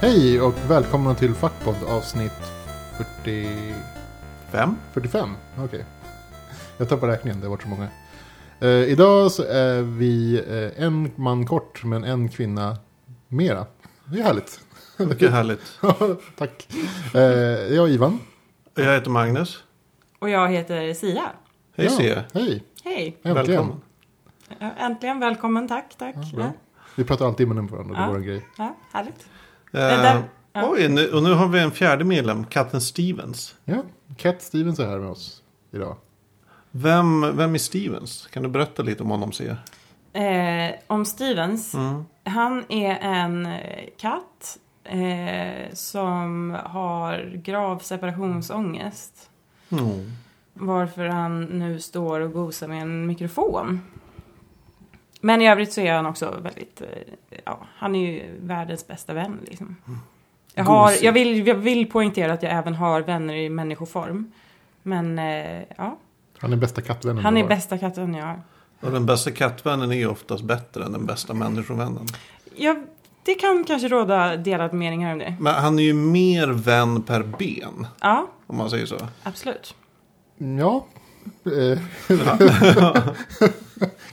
Hej och välkomna till Fackpodd avsnitt 40... Fem? 45? Okej. Jag tappar räkningen, det har varit så många. Eh, idag så är vi eh, en man kort, men en kvinna mera. Det är härligt. Mycket härligt. Tack. Eh, jag är Ivan. Jag heter Magnus. Och jag heter Sia. Hej ja, Sia. Hej, Hej! äntligen. Välkommen. Ja, Äntligen välkommen, tack, tack. Ja, bra. Vi pratar alltid i munnen på varandra, det är Ja. vår grej. ja, härligt. Eh, där- ja. Oj, nu, och nu har vi en fjärde medlem, katten Stevens. Ja, Cat Stevens är här med oss idag. Vem, vem är Stevens? Kan du berätta lite om honom Sia? Eh, om Stevens. Mm. Han är en eh, katt eh, som har grav separationsångest. Mm. Varför han nu står och gosar med en mikrofon. Men i övrigt så är han också väldigt, eh, ja, han är ju världens bästa vän liksom. Jag, har, Gosig. jag, vill, jag vill poängtera att jag även har vänner i människoform. Men eh, ja, Han är bästa kattvännen Han vi är har. bästa katten jag har. Och den bästa kattvännen är ju oftast bättre än den bästa människovännen. Ja, det kan kanske råda delad mening här om det. Men han är ju mer vän per ben, Ja, om man säger så. absolut. Ja. Eh,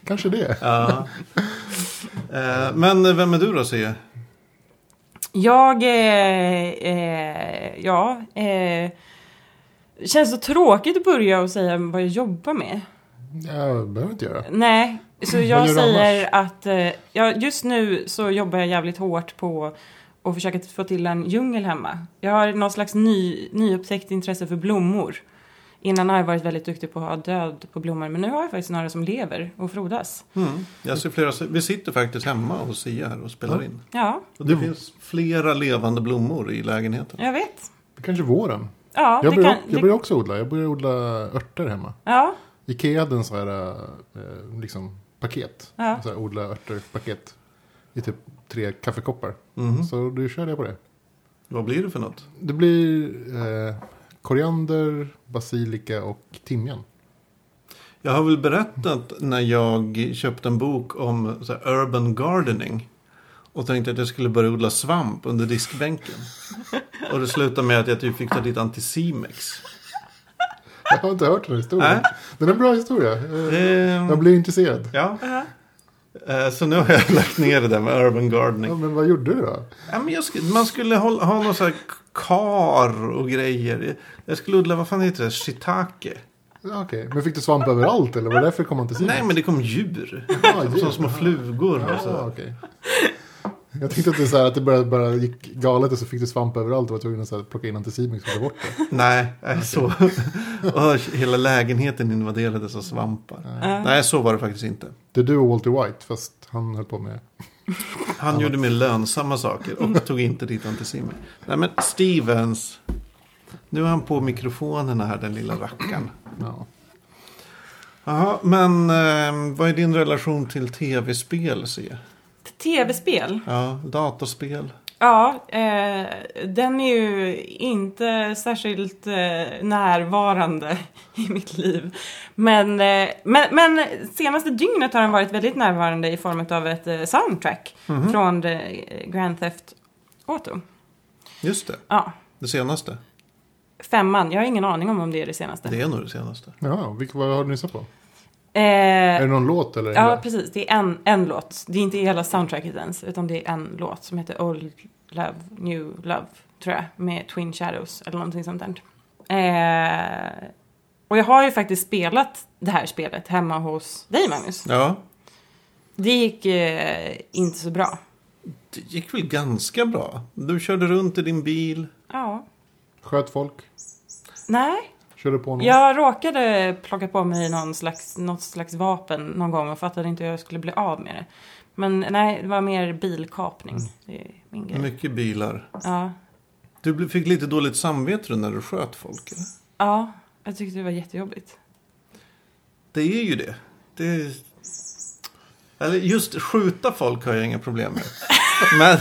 Kanske det. Ja. Eh, Men vem är du då Sia? Jag, eh, eh, ja, eh, känns så tråkigt att börja och säga vad jag jobbar med. Jag behöver inte göra. Nej, så Vad jag gör du säger att eh, ja, just nu så jobbar jag jävligt hårt på att försöka få till en djungel hemma. Jag har någon slags ny, nyupptäckt intresse för blommor. Innan har jag varit väldigt duktig på att ha död på blommor, men nu har jag faktiskt några som lever och frodas. Mm. Jag ser flera, vi sitter faktiskt hemma hos Sia här och spelar Ja. in. Ja, Och det Mm. finns flera levande blommor i lägenheten. jag vet. Det kanske är våren. Ja, jag, det börjar, kan, jag det, börjar också odla. Jag börjar odla örter hemma. ja, Ikea hade en sån här eh, liksom, paket. Ja. Så här, odla örter-paket. I typ tre kaffekoppar. Mhm. Så då körde jag på det. Vad blir det för något? Det blir eh, koriander, basilika och timjan. Jag har väl berättat när jag köpte en bok om så här, urban gardening. Och tänkte att jag skulle börja odla svamp under diskbänken. Och det slutade med att jag typ fick ta dit antisimex. Jag har inte hört den här historien. Nej. Den är en bra historia. Eh, Ehm, jag blir intresserad. Ja. Eh, Så nu har jag lagt ner det där med urban Ja, gardening. men vad gjorde du då? Ja, men jag skulle, man skulle hålla, ha någon sån här kar och grejer. Jag skulle odla, vad fan heter det? Shiitake. Ja, Okej, men fick du svamp överallt eller var det därför det kom antisimex? Nej, men det kom djur. Ja, Som små flugor och Ja, så. okej. Jag tänkte att det, är så här, att det bara, bara gick galet och så fick du svamp överallt och var tvungen att så här, plocka in antisimex och ta bort det. Nej, nej, så. Och hela lägenheten invaderades av svampar. Ja. Nej, så var det faktiskt inte. Det är du och Walter White, fast han höll på med... Han gjorde mer lönsamma saker och tog inte dit antisimic. Nej, men Stevens. Nu har han på mikrofonerna här, den lilla rackaren. Ja. Jaha, men eh, vad är din relation till tv-spel, Se? Tv-spel. Ja, datorspel. Ja, eh, den är ju inte särskilt eh, närvarande i mitt liv. Men, eh, men, men senaste dygnet har den varit väldigt närvarande i form av ett eh, soundtrack från eh, Grand Theft Auto. Just det, Ja, det senaste. femman. Jag har ingen aning om om det är det senaste. Det är nog det senaste. Ja, vilk, vad har du lyssnat på? Eh, Är det någon låt eller? Ja, precis. Det är en, en låt. Det är inte hela soundtracket ens, utan det är en låt som heter Old Love, New Love, tror jag, med Twin Shadows eller någonting sånt där. Eh, och jag har ju faktiskt spelat det här spelet hemma hos dig, Magnus. Ja, Det gick eh, inte så bra. det gick väl ganska bra. Du körde runt i din bil. Ja. Sköt folk? Nej, Körde på någon? jag råkade plocka på mig någon slags, något slags vapen någon gång och fattade inte hur jag skulle bli av med det. Men nej, det var mer bilkapning. Det är min grej. Mycket bilar. Ja. Du blev- fick lite dåligt samvete när du sköt folk. Eller? Ja, jag tyckte det var jättejobbigt. Det är ju det. det är... Eller just skjuta folk har jag inga problem med. Men,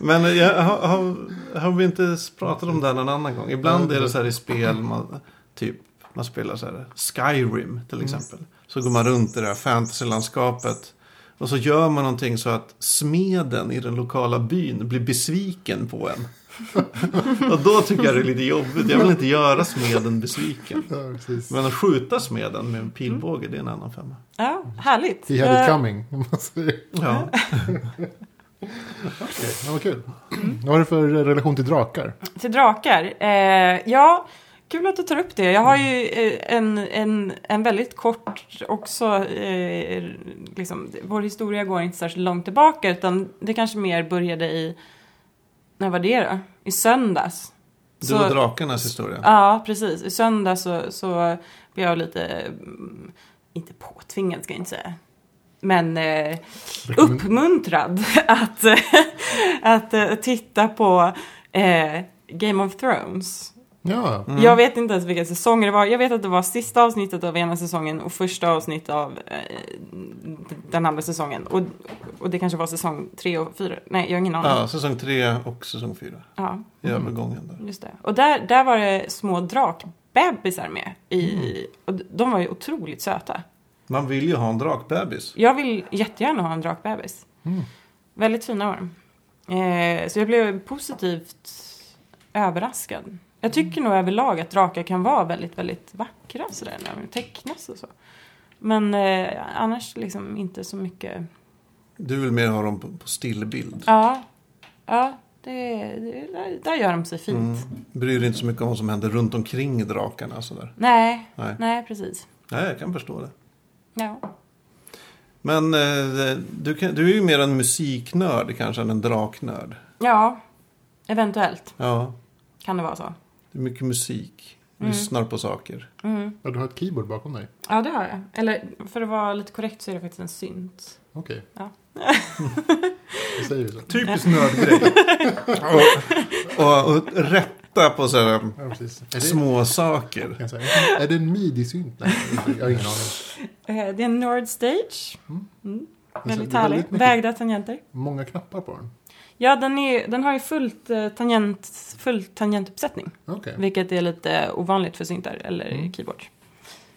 men jag, har, har, har vi inte pratat om det här någon annan gång? Ibland är det så här i spel, man, typ, man spelar så här Skyrim till exempel. Så går man runt i det här fantasylandskapet. Och så gör man någonting så att smeden i den lokala byn blir besviken på en. och då tycker jag det är lite jobbigt. Jag vill inte göra smeden besviken. Ja, precis. Men att skjuta smeden med en pilbåge, det är en annan femma. Ja, härligt. He had it Eh, coming. om man säger. Ja. Okej, ja, vad kul. Mm. Vad har du för relation till drakar? Till drakar. Eh, ja, kul att du tar upp det. Jag har ju eh, en, en, en väldigt kort också, eh, liksom, vår historia går inte särskilt långt tillbaka utan det kanske mer började i, när var det då? I söndags. Du Så- och drakarnas historia. Ja, precis. I söndag så, så blev jag lite, mm, inte påtvingad ska jag inte säga, men eh, uppmuntrad att, eh, att eh, titta på eh, Game of Thrones. Ja, Mm. Jag vet inte ens vilka säsonger det var. Jag vet att det var sista avsnittet av ena säsongen och första avsnittet av eh, den andra säsongen. Och, och det kanske var säsong tre och fyra. Nej, jag har ingen aning. Ja, säsong tre och säsong fyra. Ja. I övergången där. Just det. Och där, där var det små drakbebisar med. I, Mm. och de var ju otroligt söta. Man vill ju ha en drakbebis. Jag vill jättegärna ha en drakbebis. Mm. Väldigt fina var de. Eh, så jag blev positivt överraskad. Jag tycker nog överlag att drakar kan vara väldigt, väldigt vackra sådär när de tecknas och så. Men eh, annars liksom inte så mycket. Du vill mer ha dem på på stillbild. Ja, ja det, det, där, där gör de sig fint. Mm. Bryr dig inte så mycket om vad som händer runt omkring drakarna. och Sådär. Nej, Nej. nej precis. Nej, jag kan förstå det. Ja. Men eh, du, kan, du är ju mer en musiknörd kanske än en draknörd. ja, eventuellt. Ja, Kan det vara så? det är mycket musik. Mm. Lyssnar på saker. Mm. ja, du har ett keyboard bakom dig. Ja, det har jag. Eller för att vara lite korrekt så är det faktiskt en synt. Okej. Ja. Det säger ju så. Typiskt nördgrej. och, och, och rätta på sådär, Ja, precis. Är det, små saker. kan jag säga. är det en midi-synt? Nej, jag har ingen aning. Eh, Det är en Nord Stage. Mm. Mm. Det är Väldigt härlig. väldigt mycket- Vägda tangenter. Många knappar på den. Ja, den, är, den har ju fullt, eh, tangent, fullt tangentuppsättning. Okej. Vilket är lite ovanligt för syntar eller Mm. keyboard.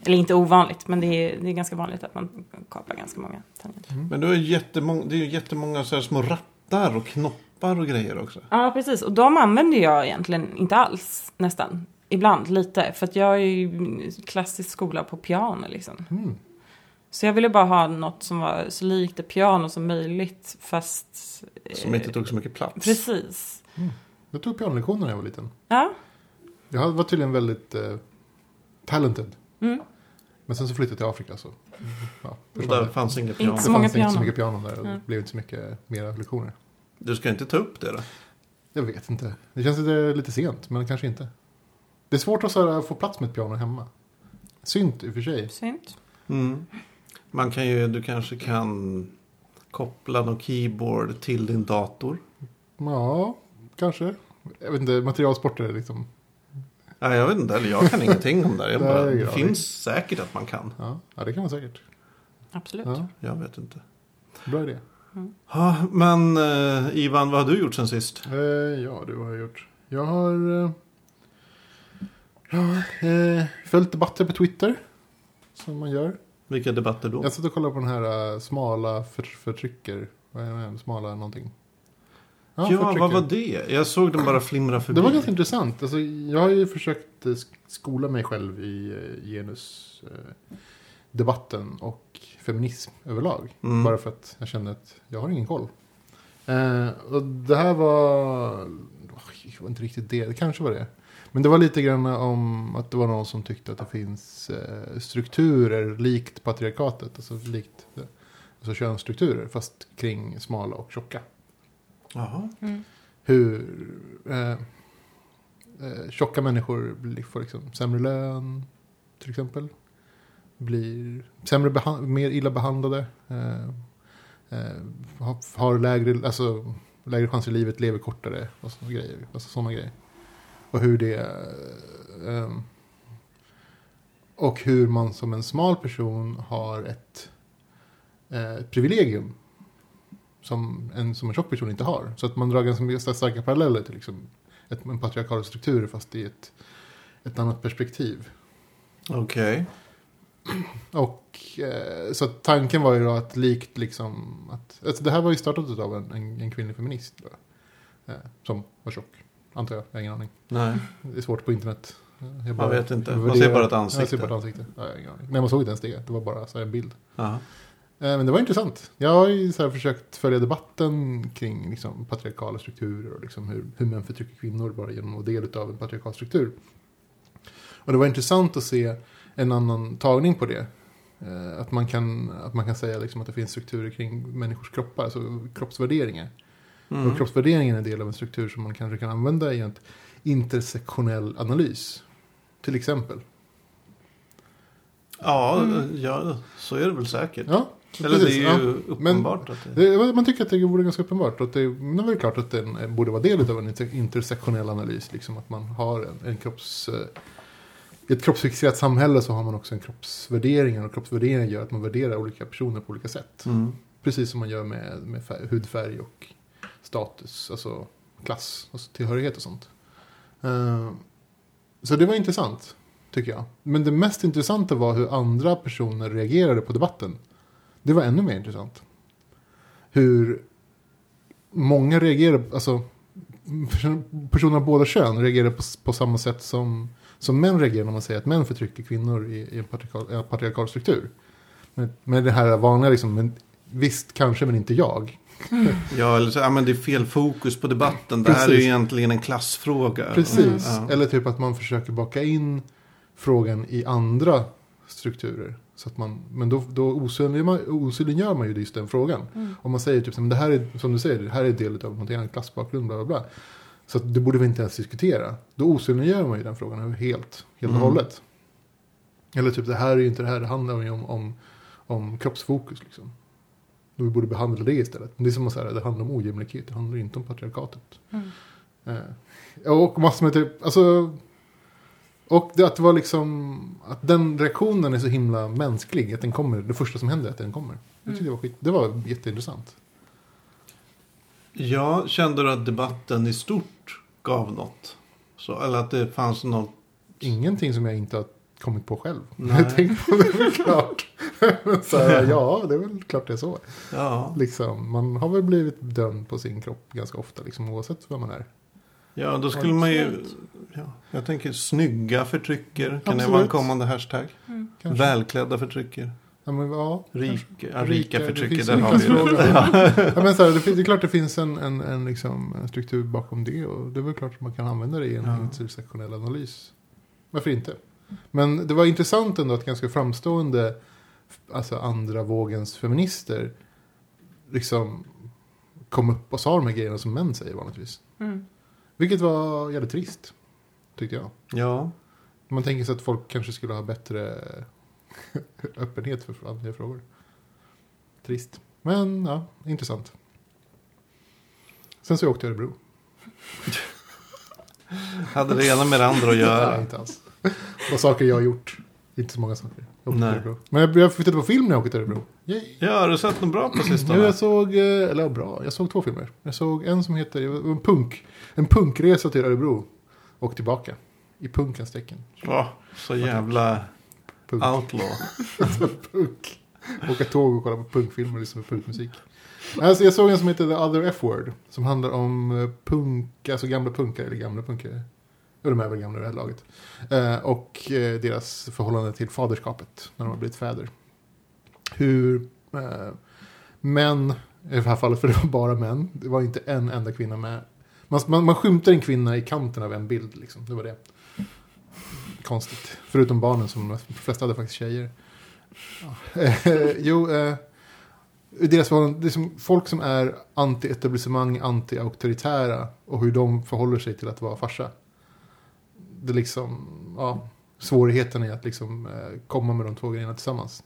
Eller inte ovanligt, men det är, det är ganska vanligt att man kapar ganska många tangenter. Men det är, jättemång, det är ju jättemånga sådär små rattar och knoppar och grejer också. Ja, precis. Och de använder jag egentligen inte alls, nästan. Ibland lite, för att jag är ju klassisk skola på piano liksom. Mm. Så jag ville bara ha något som var så likt ett piano som möjligt fast... eh, Som inte tog så mycket plats. Precis. Jag tog pianolektioner när jag var liten. Ja. Jag var tydligen väldigt eh, talented. Mm. Men sen så flyttade jag till Afrika så... Ja, Och försvann där det. fanns inga Det så pianon. många fanns inte så pianon. mycket pianon där och det Mm. blev inte så mycket mera lektioner. Du ska inte ta upp det då? Jag vet inte. Det känns lite, lite sent, men kanske inte. Det är svårt att så här, få plats med ett piano hemma. Synt i och för sig. Synt. Mm. Man kan ju, du kanske kan koppla någon keyboard till din dator. Ja, kanske. Jag vet inte, materialsporter är liksom. Nej, jag vet inte, eller jag kan ingenting om det. här. Jag bara, Nej, det ja. finns säkert att man kan. Ja, ja det kan man säkert. Absolut. Ja, Jag vet inte. bra idé. Ja, men eh, Ivan, vad har du gjort sen sist? Eh, ja, du har jag gjort. Jag har... eh, ja, eh, följt debatter på Twitter. Som man gör. Vilka debatter då? Jag satt och kollade på den här eh, smala för, förtrycker. Vad är det? Smala någonting. Ja, vad var det? Jag såg den bara flimra förbi. Det var ganska intressant. Alltså, jag har ju försökt eh, sk- skola mig själv i eh, genusdebatten och feminism överlag. Mm. Bara för att jag kände att jag har ingen koll. Eh, och det här var... Oj, Det var inte riktigt det, det kanske var det. Men det var lite grann om att det var någon som tyckte att det finns eh, strukturer likt patriarkatet. Alltså likt eh, alltså könsstrukturer, fast kring smala och tjocka Jaha. Mm. hur eh, eh, tjocka människor blir, får liksom sämre lön till exempel. Blir sämre beha- mer illa behandlade. Eh, eh, har, har lägre, alltså, lägre chanser i livet, lever kortare och sådana grejer. Alltså, såna grejer. Och hur det... Eh, ehm, och hur man som en smal person har ett eh, privilegium som en, som en tjock person inte har. Så att man drar ganska mycket starka paralleller till liksom ett, en patriarkal struktur fast i ett, ett annat perspektiv. Okej. Och eh, så att tanken var ju då att likt liksom att, alltså det här var ju startat av en, en, en kvinnlig feminist. Då, eh, som var tjock, antar jag. Jag har ingen aning. Nej, Det är svårt på internet. Eh, Jag man vet inte. Man värderar- ser bara ett Ja, Jag ser ansikte. bara ett ansikte. Ja, jag har ingen aning. Nej, man såg inte ens det. Det var bara så här en bild. Ja. Eh, Men det var intressant. Jag har ju så här försökt följa debatten kring liksom patriarkala strukturer och liksom hur, hur män förtrycker kvinnor bara genom att vara del av en patriarkal struktur. Och det var intressant att se en annan tagning på det. Eh, Att man kan, att man kan säga liksom att det finns strukturer kring människors kroppar, alltså kroppsvärderingar. Mm. Och kroppsvärderingen är en del av en struktur som man kanske kan använda i en intersektionell analys. Till exempel. Ja, ja, så är det väl säkert. Mm. Ja, Eller det precis. Ja. är ju uppenbart att det... Det- Man tycker att det vore ganska uppenbart. Att det, men det är väl klart att den eh, borde vara del av en inter- intersektionell analys. Liksom att man har en, en kropps... eh, I ett kroppsfixerat samhälle så har man också en kroppsvärdering. Och kroppsvärderingar gör att man värderar olika personer på olika sätt. Mm. Precis som man gör med, med färg, hudfärg och status, alltså klass, alltså tillhörighet och sånt. Eh, så det var intressant, tycker jag. Men det mest intressanta var hur andra personer reagerade på debatten. Det var ännu mer intressant. Hur många reagerade, alltså person- personer av båda kön reagerade på, på samma sätt som, som män reagerar när man säger att män förtrycker kvinnor i, i en patriarkal, en patriarkal struktur. Men, men det här vanliga liksom, men, visst kanske men inte jag. Ja, eller så, ja, men det är fel fokus på debatten. Det här är ju Precis. egentligen en klassfråga. Mm. Precis, Ja. eller typ att man försöker baka in frågan i andra strukturer. Så att man, men då, då osynliggör, man, osynliggör man ju just den frågan. Mm. Om man säger typ som det här är, som du säger, det här är del av någonting annat, klassbakgrund, bla bla bla. Så att det borde vi inte ens diskutera. Då osynliggör man ju den frågan över helt, helt och Mm. hållet. Eller typ det här är ju inte det här, det handlar ju om, om, om kroppsfokus liksom. Då vi borde behandla det istället. Men det är som att säga, det handlar om ojämlikhet, det handlar inte om patriarkatet. Mm. Eh, Och massor med typ, alltså... Och det att det var liksom, att den reaktionen är så himla mänsklig. Att den kommer, det första som händer är att den kommer. Jag tyckte det var skit, det var jätteintressant. Ja, kände du att debatten i stort gav något? Så, eller att det fanns något? Ingenting som jag inte har kommit på själv. Nej. Jag tänkte på det, är väl klart. så här, ja, det är väl klart det är så. Ja, Liksom, man har väl blivit dömd på sin kropp ganska ofta, liksom, oavsett vem man är. ja då skulle man ju... Absolut. Ja, jag tänker snygga förtrycker. Kan det vara en Absolut. kommande hashtag? Mm. Kanske. Välklädda förtrycker. Ja, men, ja, Rik, ja, rika Rika, det förtrycker, finns där rika har vi frågor. det. Ja. Ja, men så här, det, finns, det är klart det finns en, en, en, liksom, en struktur bakom det. Och det är väl klart att man kan använda det i en Ja. intersektionell analys. Varför inte? Men det var intressant ändå att ganska framstående, alltså andra vågens feminister, liksom kom upp och sa de här grejerna som män säger vanligtvis. Mm. Vilket var jävligt trist, tyckte jag. ja, Man tänker sig att folk kanske skulle ha bättre öppenhet för andra frågor. Trist. Men ja, intressant. Sen så åkte jag till Örebro. hade det ena med det andra att Nej, göra. inte alls. Och saker jag har gjort. Inte så många saker. Jag åkte Nej. till Örebro. Men jag, jag flyttade på film när jag åkte till Örebro. Yay. Ja, har du sett något bra på Nu sistone? jag såg, eh, eller ja, bra, jag såg två filmer. Jag såg en som heter, det var en punk. En punkresa till Örebro. Och tillbaka. I punkens tecken. Åh, så jävla Punk. outlaw. punk. Åka tåg och kolla på punkfilmer och lyssna på punkmusik. Alltså, jag såg en som heter The Other F-Word. Som handlar om eh, punk, alltså gamla punkare eller gamla punkare. Ja, de är väl gamla i det här laget. Eh, och eh, deras förhållande till faderskapet när de har blivit fäder. Hur eh, män, i det här fallet för det var bara män, det var inte en enda kvinna med. Man, man, man skymtar en kvinna i kanten av en bild liksom, det var det. Konstigt. Förutom barnen som de flesta hade faktiskt tjejer. Eh, jo, eh, deras förhållande, det är som folk som är anti-etablissemang, anti-auktoritära och hur de förhåller sig till att vara farsa. Det är liksom, ja, svårigheten är att liksom eh, komma med de två grejerna tillsammans.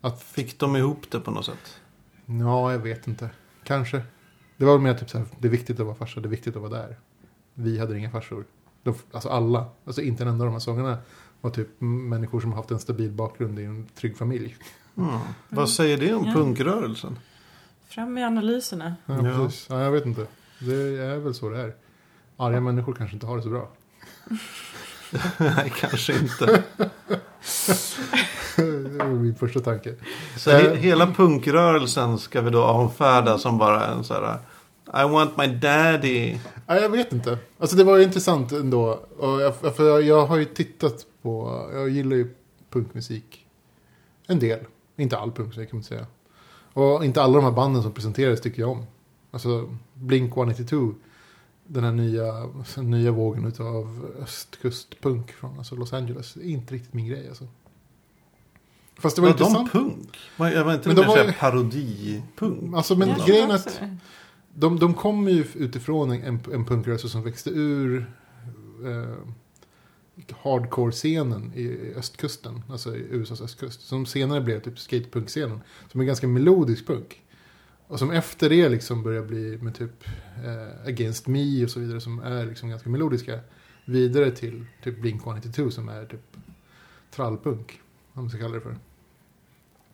Att, Fick de ihop det på något sätt? ja, jag vet inte, kanske. Det var väl mer typ så här, det är viktigt att vara farsa, det är viktigt att vara där. Vi hade inga farsor. De, alltså alla, alltså inte en enda av de här sångarna var typ människor som haft en stabil bakgrund i en trygg familj. Mm. Vad säger det om Ja. punkrörelsen? Fram med analyserna. Ja, Ja. precis. Ja, jag vet inte. Det är väl så det är. Arga människor kanske inte har det så bra. Nej, kanske inte. min första tanke. Så he- hela punkrörelsen ska vi då avfärda som bara en så här. I want my daddy. Ja, jag vet inte. Alltså det var ju intressant ändå. Och jag, för jag, jag har ju tittat på, jag gillar ju punkmusik. En del. Inte all punkmusik kan man säga. Och inte alla de här banden som presenterades tycker jag om. Alltså Blink 182. Den här nya, nya vågen utav östkustpunk från alltså Los Angeles. Det är inte riktigt min grej alltså. Fast det var, var de intressant. punk? Var, jag var inte Men mer de var så här ju- parodipunk? Alltså men Jag tror grejen är också att det. De, de kommer ju utifrån en, en, en punkrörelse som växte ur eh, hardcore-scenen i i östkusten, alltså i USAs östkust. Som senare blev typ skatepunk-scenen, som är ganska melodisk punk. Och som efter det liksom börjar bli med typ eh, Against Me och så vidare som är liksom ganska melodiska. Vidare till typ Blink-192 som är typ trallpunk, om man ska kalla det för.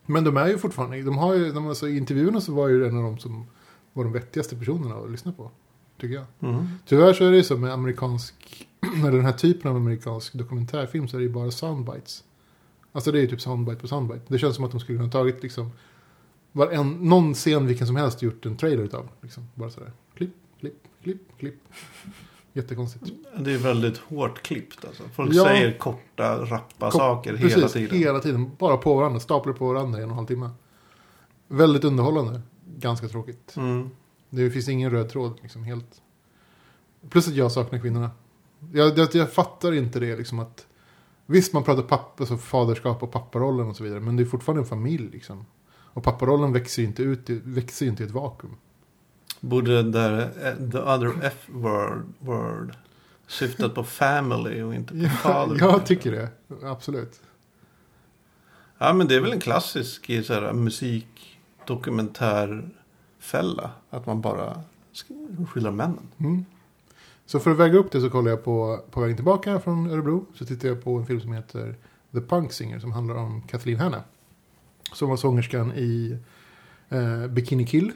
Men de är ju fortfarande, de har ju, de, alltså, i intervjuerna så var ju en av de som var de vettigaste personerna att lyssna på. Tycker jag. Mm. Tyvärr så är det ju så med amerikansk, eller den här typen av amerikansk dokumentärfilm så är det ju bara soundbites. Alltså det är ju typ soundbite på soundbite. Det känns som att de skulle kunna ha tagit liksom varen, någon scen vilken som helst och gjort en trailer utav. Liksom. Bara sådär, klipp, klipp, klipp, klipp. Jättekonstigt. Det är väldigt hårt klippt alltså. Folk Ja. säger korta, rappa Kort- saker Precis, hela tiden. hela tiden. Bara på varandra, staplar på varandra i en och en halv timme. Väldigt underhållande, ganska tråkigt. Mm. Det finns ingen röd tråd liksom helt. Plus att jag saknar kvinnorna. Jag, jag, jag fattar inte det liksom att. Visst man pratar papp, alltså faderskap och papparollen och så vidare. Men det är fortfarande en familj liksom. Och papparollen växer ju inte ut, i- växer ju inte i ett vakuum. Borde där eh, the other F-word word, syftat på family och inte på father. Jag, jag tycker det, absolut. Ja men det är väl en klassisk i så här, musikdokumentärfälla. Att man bara sk- skildrar männen. Mm. Så för att väga upp det så kollar jag på, på vägen tillbaka från Örebro. Så tittar jag på en film som heter The Punk Singer som handlar om Kathleen Hanna. Som var sångerskan i eh, Bikini Kill.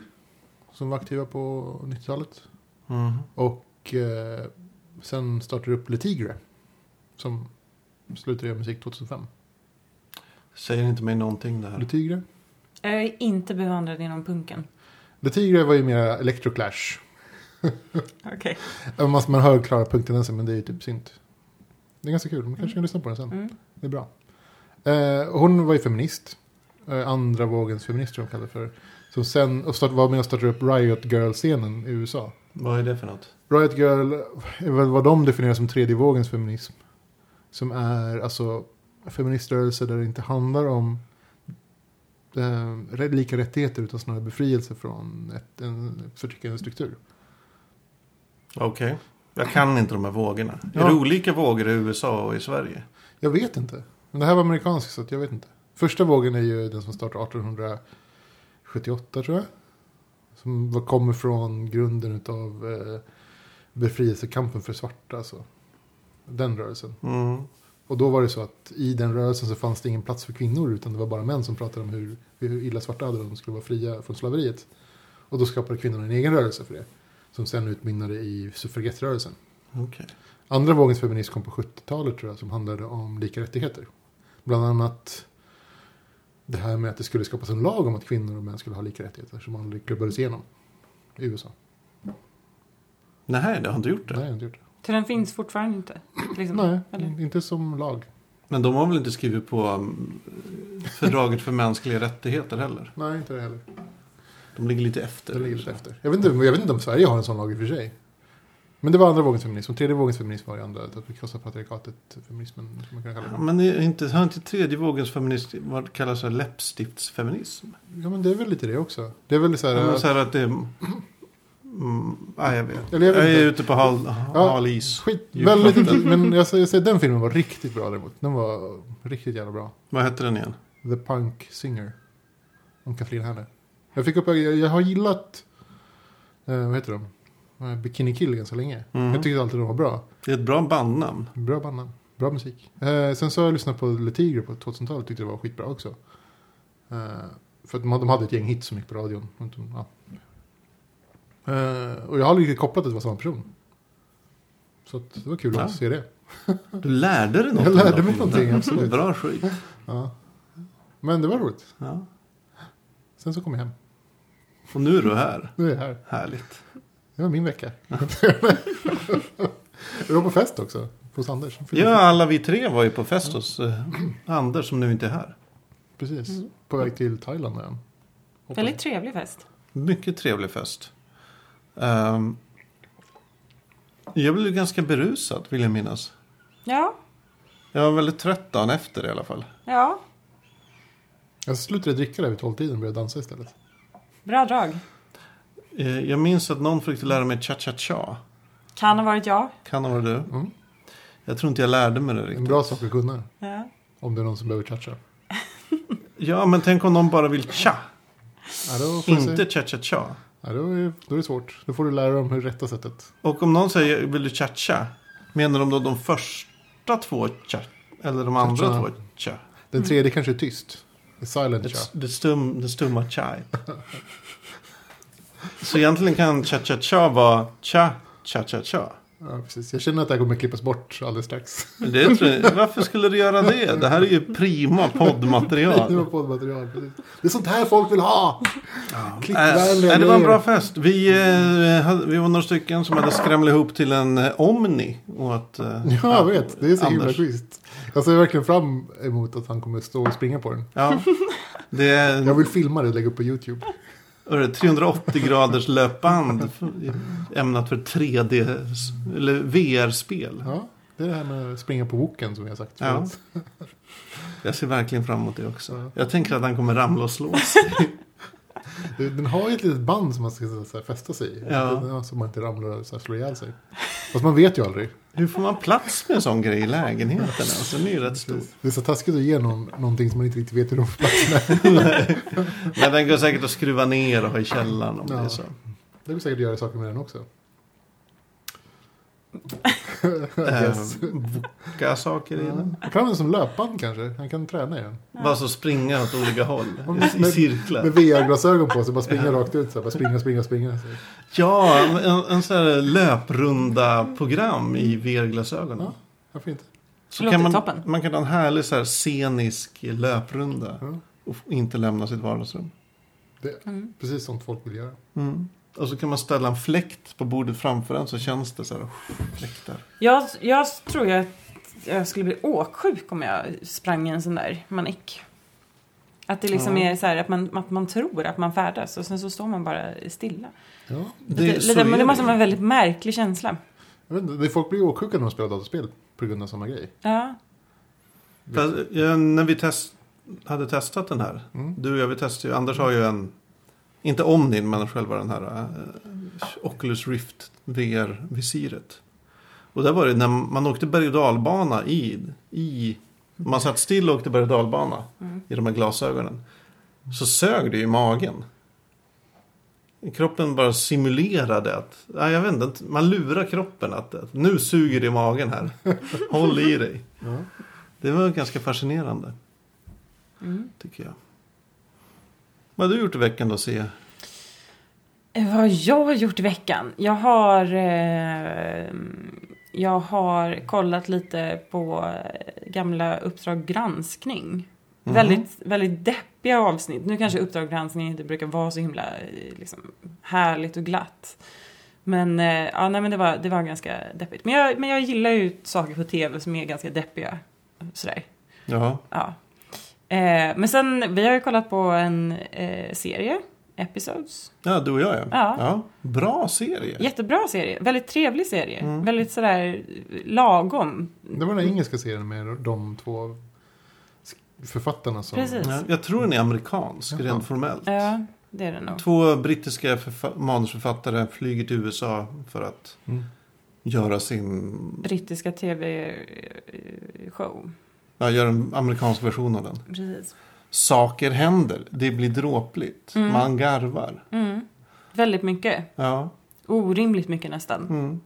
Som var aktiva på 90-talet. Mm. Och eh, sen startade upp Le Tigre. Som slutade göra musik 2005. Säger inte mig någonting det här. Le Tigre. Jag är inte bevandrad inom punken. Le Tigre var ju mera Electroclash. Okej. Även fast Man hör klara punktendenser men det är ju typ synt. Det är ganska kul. Man kanske kan lyssna på den sen. Mm. Det är bra. Eh, hon var ju feminist. Eh, andra vågens feminist tror jag de kallar det för. Som sen och start, var med och startade upp Riot Girl-scenen i USA. Vad är det för något? Riot Girl är väl vad de definierar som tredje vågens feminism. Som är alltså feministrörelser där det inte handlar om eh, rätt- lika rättigheter utan snarare befrielse från ett, en förtryckande struktur. Okej. Jag kan inte de här vågorna. Är Ja. det olika vågor i USA och i Sverige? Jag vet inte. Men det här var amerikanskt så att jag vet inte. Första vågen är ju den som startade 1878 tror jag. Som var- kommer från grunden av eh, befrielsekampen för svarta. Alltså. Den rörelsen. Mm. Och då var det så att i den rörelsen så fanns det ingen plats för kvinnor utan det var bara män som pratade om hur, hur illa svarta hade det, de skulle vara fria från slaveriet. Och då skapade kvinnorna en egen rörelse för det. Som sen utmynnade i suffragettrörelsen. Okej. Andra vågens feminism kom på 70-talet tror jag som handlade om lika rättigheter. Bland annat det här med att det skulle skapas en lag om att kvinnor och män skulle ha lika rättigheter som aldrig klubbades igenom i USA. Nej, det har inte gjort Det det. har jag inte gjort. Så den finns fortfarande inte? Liksom. Nej, Eller? inte som lag. Men de har väl inte skrivit på um, fördraget för mänskliga rättigheter heller? Nej, inte det heller. De ligger lite efter. Det ligger lite efter. Jag vet, inte, jag vet inte om Sverige har en sån lag i och för sig. Men det var andra vågens feminism. Och tredje vågens feminism var ju andra. Att vi krossar patriarkatet, feminismen som man kan kalla Ja, det. men är inte, har inte tredje vågens feminist vad kallas det, läppstiftsfeminism? Ja men det är väl lite det också. Det är väl så här. Ja, men Ja, så här att det... är- Mm, nej, jag vet. Eller jag Jag, vet är inte. ute på hal, hal is. skit, Djupt väldigt vatten. intressant. Men jag säger, jag säger den filmen var riktigt bra däremot. Den var riktigt jävla bra. Vad heter den igen? The Punk Singer. Om Kathleen Hanna. Jag fick upp, jag, jag har gillat, eh, vad heter de? Eh, Bikini Kill ganska länge. Mhm. Jag tyckte alltid de var bra. Det är ett bra bandnamn. Bra bandnamn, bra musik. Eh, sen så har jag lyssnat på Le Tigre på 2000-talet tyckte det var skitbra också. Eh, för att de, de hade ett gäng hits som gick på radion. Och de- Ja. Eh, och jag har aldrig riktigt kopplat att det var samma person. Så att det var kul Ja. att se det. Du lärde dig Mm. något. Jag om lärde dem. mig någonting, absolut. Bra skit. Ja. Men det var roligt. Ja. Sen så kom jag hem. Och nu är du här. Nu är jag här. Härligt. Det var min vecka. jag var på fest också. Hos Anders. Ja, alla vi tre var ju på fest hos eh, Anders som nu inte är här. Precis. På väg till Thailand är han. Hoppas. Väldigt trevlig fest. Mycket trevlig fest. Ehm, jag blev ganska berusad vill jag minnas. Ja, Jag var väldigt trött dagen efter i alla fall. ja. Jag slutade dricka där vid tolvtiden och började dansa istället. Bra drag. Eh, jag minns att någon försökte lära mig cha-cha-cha. Kan ha varit jag. Kan ha varit du. Mm. Jag tror inte jag lärde mig det En riktigt. bra sak att kunna. Ja. Om det är någon som behöver tjatcha. Ja, men tänk om någon bara vill cha. Ja, då, får jag säga- Inte cha-cha-cha. ja, då, är, då är det svårt. Då får du lära dem hur rätta sättet. Och om någon säger vill du cha-cha? Menar de då de första två cha? Eller de andra Cha-cha. två cha? Den tredje kanske är tyst. Det är Silent Det, tja. det, stum, det stumma chai. Så egentligen kan cha-cha-cha vara cha, cha-cha-cha. Ja, precis. Jag känner att det här kommer klippas bort alldeles strax. Men Det tror jag, varför skulle du göra det? Det här är ju prima Det var poddmaterial. poddmaterial. precis. Det är sånt här folk vill ha! Äh, Klickvänliga nej, det var grejer. en bra fest. Vi, eh, hade- vi var några stycken som hade skramlat ihop till en eh, Omni. Åt, eh, Ja, jag vet. Det är så himla Anders. schysst. Jag ser verkligen fram emot att han kommer stå och springa på den. Ja, det är Jag vill filma det och lägga upp på YouTube. Hörru, 380 graders löpband f- ämnat för 3D s- eller VR-spel. Ja, det är det här med att springa på woken som jag har sagt Ja. förut. Jag ser verkligen fram emot det också. Ja. Jag tänker att han kommer ramla och slå sig. Det- Den har ju ett litet band som man ska så här, fästa sig i. Ja. Så man inte ramlar och så här, slår ihjäl sig. Fast man vet ju aldrig. Hur får man plats med en sån grej i lägenheten? Alltså, den är ju rätt stor. Det är så taskigt att ge någon någonting som man inte riktigt vet hur de får plats med. Men den går säkert att skruva ner och ha i källaren om det är Ja. så. Det går säkert att göra saker med den också. yes. Eh, Boka saker i den. Man kan använda den som löpband kanske. Han kan träna i den. Bara så springa åt olika håll i, i Men- cirklar. Med VR-glasögon på sig. Bara springa rakt ut. Så här, bara springa, springa, springa. Så. Ja, en, en sån här löprunda-program i VR-glasögonen. Ja, varför inte? Så Låter kan man, toppen. man kan ha en härlig så här scenisk löprunda Ja. och f- inte lämna sitt vardagsrum. Mm. Det Mm. precis sånt folk vill göra. Och så kan man ställa en fläkt på bordet framför en så känns det så här. Fläktar. Jag, jag tror jag, jag skulle bli åksjuk om jag sprang en sån där manick. Att det liksom Ja. är så här att man, att man tror att man färdas och sen så står man bara stilla. Ja, Det, det, så det, är men det det. måste vara en väldigt märklig känsla. jag vet inte. Det är folk blir åksjuka när de spelar datorspel. På grund av samma grej. Ja, Fast, eh, när vi test, hade testat den här. Mm. Du och jag vi testade ju. Anders har ju en. Inte Omnin men själva den här. eh, Oculus Rift VR-visiret. Och där var det när man åkte berg och dalbana i. i man satt still och åkte berg och dalbana. Mm. i de här glasögonen. Så sög det ju i magen. Kroppen bara simulerade att, nej jag vet inte, att man lurar kroppen att, att nu suger det i magen här. Håll i dig. Ja. Det var ganska fascinerande Mm. tycker jag. Vad har du gjort i veckan då Sia? Eh, Vad har jag gjort i veckan? Jag har... Eh, jag har kollat lite på eh, gamla Uppdrag granskning. Mhm. Väldigt, väldigt deppiga avsnitt. Nu kanske Uppdrag granskning inte brukar vara så himla eh, liksom, härligt och glatt. Men, eh, ja, nej, men det, var, det var ganska deppigt. Men jag, men jag gillar ju saker på tv som är ganska deppiga. Sådär. Ja, Ja. Eh, men sen, vi har ju kollat på en eh, serie, Episodes. ja du och jag ja. Ja. Bra serie. Jättebra serie, väldigt trevlig serie. Mm. Väldigt sådär lagom. Det var den här engelska serien med de två sk- författarna som... Precis. Ja, jag tror den är amerikansk Jaha. rent formellt. Ja, det är det nog. Två brittiska förfa- manusförfattare flyger till USA för att Mm. göra sin Brittiska eh, tv-show. Ja, gör en amerikansk version av den. Precis. Saker händer. Det blir dråpligt. Mm. Man garvar. Mm. Väldigt mycket. Ja. Orimligt mycket nästan. Mm.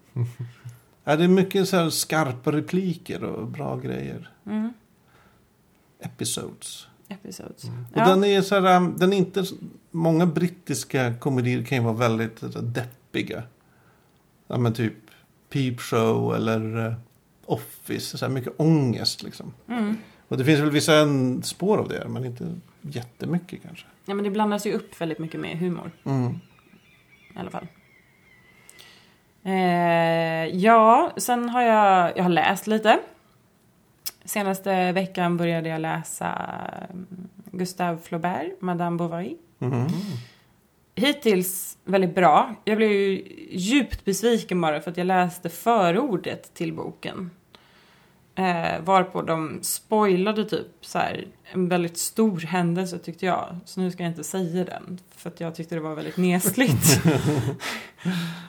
ja. Det är mycket så här skarpa repliker och bra grejer. Mm. Episodes. Episodes. Mm. Och Ja. den är så här, um, den är inte... s- Många brittiska komedier kan ju vara väldigt så här, deppiga. Ja, men typ Peep Show eller eh, Office. Så här mycket ångest liksom. Mm. Och Och det finns väl vissa en- spår av det, men inte jättemycket kanske. Ja, men det blandas ju upp väldigt mycket med humor Mm. i alla fall. Eh, ja, sen har jag, jag har läst lite. Senaste veckan började jag läsa mm, Gustave Flaubert, Madame Bovary. Mhm. Hittills väldigt bra. Jag blev ju djupt besviken bara för att jag läste förordet till boken. Eh, varpå de spoilade typ så här, en väldigt stor händelse tyckte jag. Så nu ska jag inte säga den. För att jag tyckte det var väldigt nesligt.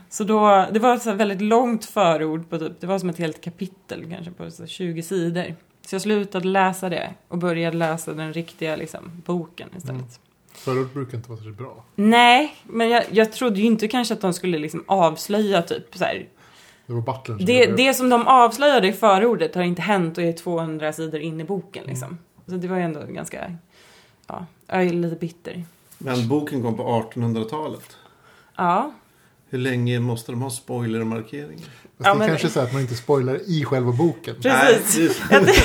så då, det var ett så här väldigt långt förord på typ, det var som ett helt kapitel kanske på så här 20 sidor. Så jag slutade läsa det och började läsa den riktiga liksom, boken istället. Mm. Förord brukar inte vara särskilt bra. Nej, men jag, jag trodde ju inte kanske att de skulle liksom avslöja typ så här. Det var butlern som Det, gjorde det som de avslöjade i förordet har inte hänt och är 200 sidor in i boken Mm. liksom. Så det var ju ändå ganska, ja, jag är lite bitter. Men boken kom på 1800-talet. Ja, Hur länge måste de ha spoilermarkeringar? Fast Ja, det men- kanske är så att man inte spoilar i själva boken. Precis. Nej, just-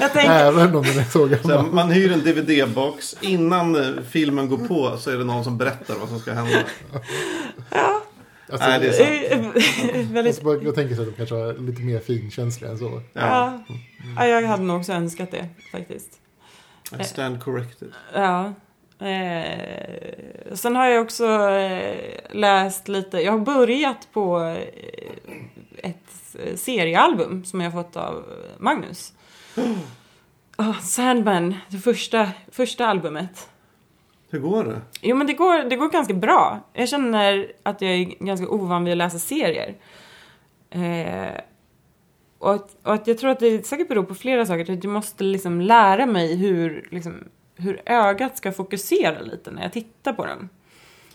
jag tänker, Även om den är så Så här, gammal. man hyr en DVD-box. Innan eh, filmen går på så är det någon som berättar vad som ska hända. Alltså, Nej, det är väldigt, alltså, bara- jag tänker så att de kanske är lite mer finkänsliga än så. Ja. ja. ja, jag hade nog också önskat det faktiskt. I Stand corrected. Ja. Eh, sen har jag också eh, läst lite, jag har börjat på eh, ett eh, seriealbum som jag fått av eh, Magnus. Ah, Sandman, det första, första albumet. Hur går det? Jo men det går, det går ganska bra. Jag känner att jag är ganska ovan vid att läsa serier. Eh, och, att, och att jag tror att det säkert beror på flera saker. Att jag måste liksom lära mig hur, liksom, hur ögat ska fokusera lite när jag tittar på den.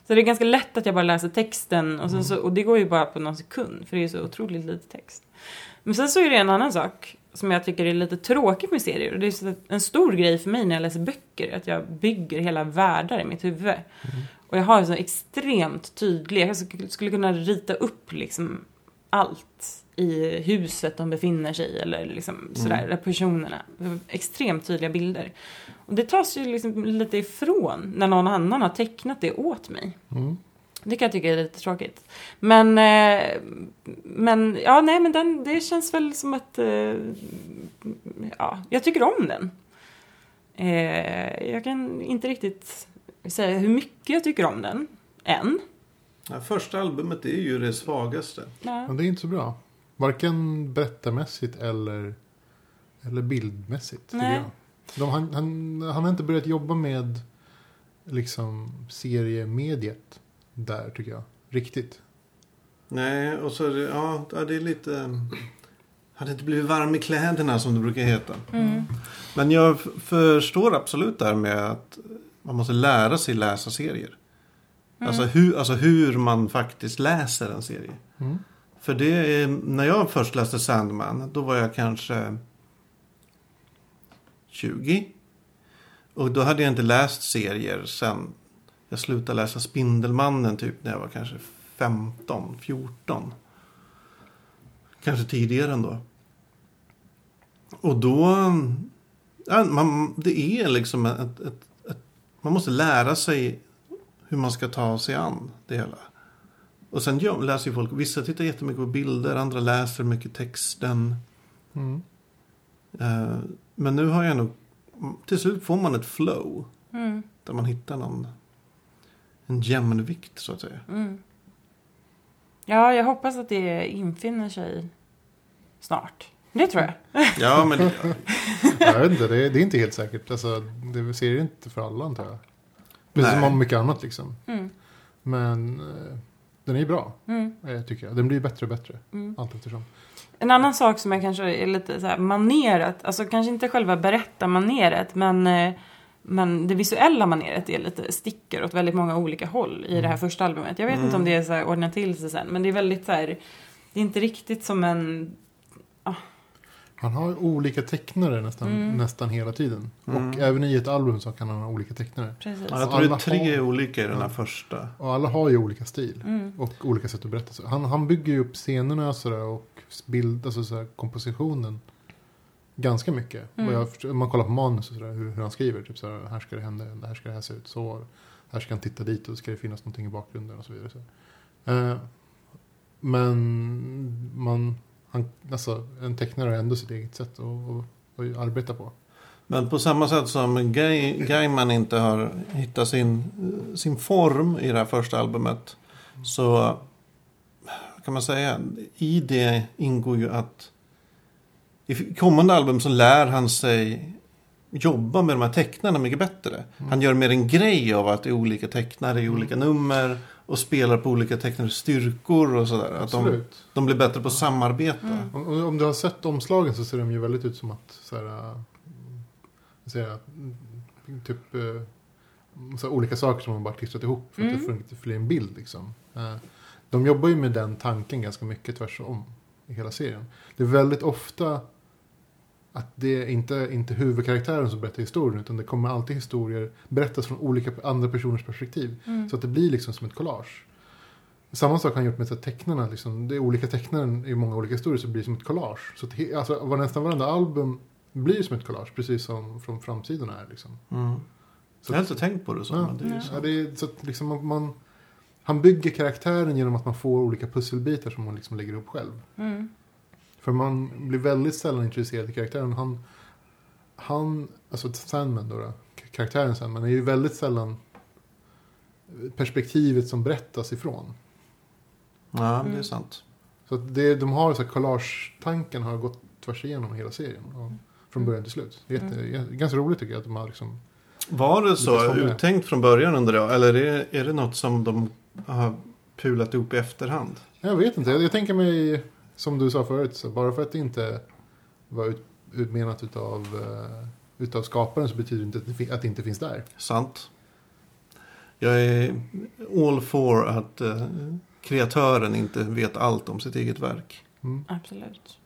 Så det är ganska lätt att jag bara läser texten och, sen så, och det går ju bara på någon sekund för det är ju så otroligt lite text. Men sen så är det en annan sak som jag tycker är lite tråkigt med serier och det är så att en stor grej för mig när jag läser böcker att jag bygger hela världar i mitt huvud. Och jag har så extremt tydlig, jag sk- skulle kunna rita upp liksom allt i huset de befinner sig i eller liksom sådär, där personerna. Extremt tydliga bilder. Och det tas ju liksom lite ifrån när någon annan har tecknat det åt mig. Mm. Det kan jag tycka är lite tråkigt. Men, eh, men ja, nej, men den, det känns väl som att, eh, ja, jag tycker om den. Eh, jag kan inte riktigt säga hur mycket jag tycker om den, än. Ja, första albumet är ju det svagaste. Ja. Men det är inte så bra. Varken berättarmässigt eller, eller bildmässigt. tycker Nej. jag. De, han, han, han har inte börjat jobba med liksom, seriemediet där tycker jag. Riktigt. Nej, och så är det, ja, ja, det är lite... Hade inte blivit varm i kläderna som det brukar heta. Mm. Men jag f- förstår absolut det här med att man måste lära sig läsa serier. Alltså, hur, alltså hur man faktiskt läser en serie. Mm. För det är, när jag först läste Sandman, då var jag kanske 20. Och då hade jag inte läst serier sen jag slutade läsa Spindelmannen typ när jag var kanske 15, 14. Kanske tidigare ändå. Och då, ja, man, det är liksom ett, ett, ett, man måste lära sig hur man ska ta sig an det hela. Och sen gör- läser ju folk, vissa tittar jättemycket på bilder, andra läser mycket texten. Mm. Eh, Men nu har jag nog, till slut får man ett flow. Mm. Där man hittar någon, en jämnvikt så att säga. Mm. ja, jag hoppas att det infinner sig snart. Det tror jag. Ja, men det, Jag vet inte, det, är- det är inte helt säkert. Alltså, det ser det inte för alla antar jag. Precis Nej. som om mycket annat liksom. Mm. Men eh, den är ju bra, Mm. eh, tycker jag. Den blir bättre och bättre Mm. allt eftersom. En annan sak som jag kanske är lite så här manerat, alltså kanske inte själva berättarmaneret, men, eh, men det visuella maneret är lite sticker åt väldigt många olika håll i det här första albumet. Jag vet Mm. inte om det är så här ordnat till sig sen, men det är väldigt så här, det är inte riktigt som en, Han har olika tecknare nästan, Mm. nästan hela tiden. Mm. Och även i ett album så kan han ha olika tecknare. precis. ja, jag tror det är Alla tre har- olika i den här Ja. första. Och alla har ju olika stil. Mm. Och olika sätt att berätta. Så Han, han bygger ju upp scenerna sådär, och bild, alltså sådär, kompositionen ganska mycket. Mm. Och jag, förstår- man kollar på manus och sådär, hur, hur han skriver. Typ såhär, här ska det hända, det här ska det här se ut, så. Här ska han titta dit och ska det finnas någonting i bakgrunden och så vidare. Så. Eh, men man, han, alltså, en tecknare har ändå sitt eget sätt att, att, att arbeta på. Men på samma sätt som Guy, Gaiman inte har hittat sin, sin form i det här första albumet. Så vad kan man säga, i det ingår ju att i kommande album så lär han sig jobba med de här tecknarna mycket bättre. Mm. Han gör mer en grej av att det är olika tecknare i olika nummer och spelar på olika tecknares styrkor och sådär. Att de, Absolut. Mm. de blir bättre på att samarbeta. Om, om- om du har sett omslagen så ser de ju väldigt ut som att så här, äh, vad säger jag, mm, typ äh, så här, olika saker som man bara klistrat ihop för att Mm. det funkar för en bild. Liksom. Äh, De jobbar ju med den tanken ganska mycket tvärsom i hela serien. Det är väldigt ofta att det är inte, inte huvudkaraktären som berättar historien utan det kommer alltid historier berättas från olika andra personers perspektiv. Mm. Så att det blir liksom som ett collage. Samma sak har han gjort med så här tecknarna. Liksom, det är olika tecknare i många olika historier så det blir som ett collage. Så att he, alltså, var- nästan varenda album blir som ett collage, precis som från framsidan är. Liksom. Mm. Så Jag har att, inte tänkt på det så. Ja. Men det är ju så. ja, det är, så att liksom man, man, han bygger karaktären genom att man får olika pusselbitar som man liksom lägger ihop själv. Mm. För man blir väldigt sällan intresserad i karaktären. Han, han alltså Sandman då, då k- karaktären Sandman, är ju väldigt sällan perspektivet som berättas ifrån. Ja, det är Mm. sant. Så att det, de har så här collage-tanken har gått tvärs igenom hela serien. Och från Mm. början till slut. Jätte, jä- Ganska roligt tycker jag att de har liksom... Var det Lite så som det. uttänkt från början undrar jag? Eller är det, är det något som de har pulat ihop i efterhand? Jag vet inte, jag, jag tänker mig som du sa förut. Så bara för att det inte var ut, utmenat utav, eh, utav skaparen så betyder det inte att det, fin- att det inte finns där. Sant. Jag är all for att eh, kreatören inte vet allt om sitt eget verk. Mm. Absolut.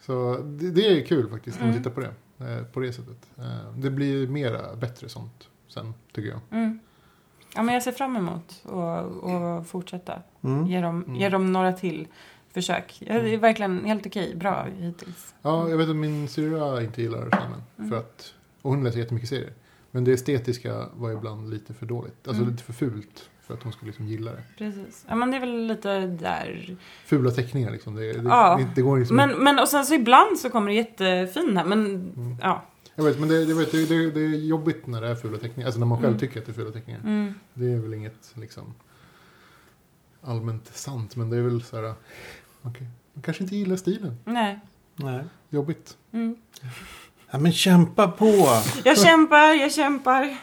Så det, det är kul faktiskt när man Mm. tittar på det. eh, På det sättet. Eh, Det blir mera bättre sånt sen tycker jag. Mm. Ja, men jag ser fram emot att att fortsätta. Mm. Ge dem, Mm. ge dem några till försök. Ja, Det är Mm. verkligen helt okej. Bra hittills. Ja, jag vet att min syrra inte gillar Sandman. Mm. För att, och hon läser jättemycket serier. Men det estetiska var ibland lite för dåligt. Alltså Mm. lite för fult. För att hon skulle liksom gilla det. Precis. Ja, men det är väl lite där. Fula teckningar liksom. Det, det, Ja. det, det går liksom Men, men och sen så ibland så kommer det jättefina. Men Mm. ja. Jag vet, men det, det, vet, det, det, det är jobbigt när det är fula teckningar. Alltså när man själv Mm. tycker att det är fula teckningar. Mm. Det är väl inget liksom allmänt sant. Men det är väl så här, okej. Man kanske inte gillar stilen. Nej. Nej. Jobbigt. Mm. Ja, men kämpa på! Jag kämpar, jag kämpar.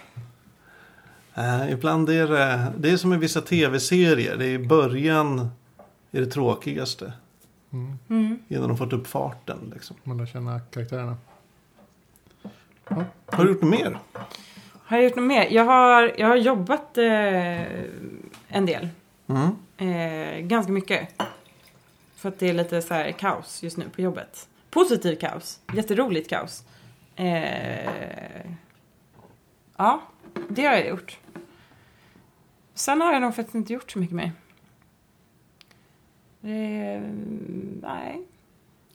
Eh, ibland är det, det är som i vissa tv-serier. Det är i början är det tråkigaste. Mm. Mm. Innan de fått upp farten. Liksom. Man lär känna karaktärerna. Har du gjort något mer? Har jag gjort något mer? Jag har, jag har jobbat eh, en del. Mm. Eh, ganska mycket. För att det är lite så här kaos just nu på jobbet. Positiv kaos. Jätteroligt kaos. Eh, ja, det har jag gjort. Sen har jag nog faktiskt inte gjort så mycket mer. Eh, nej.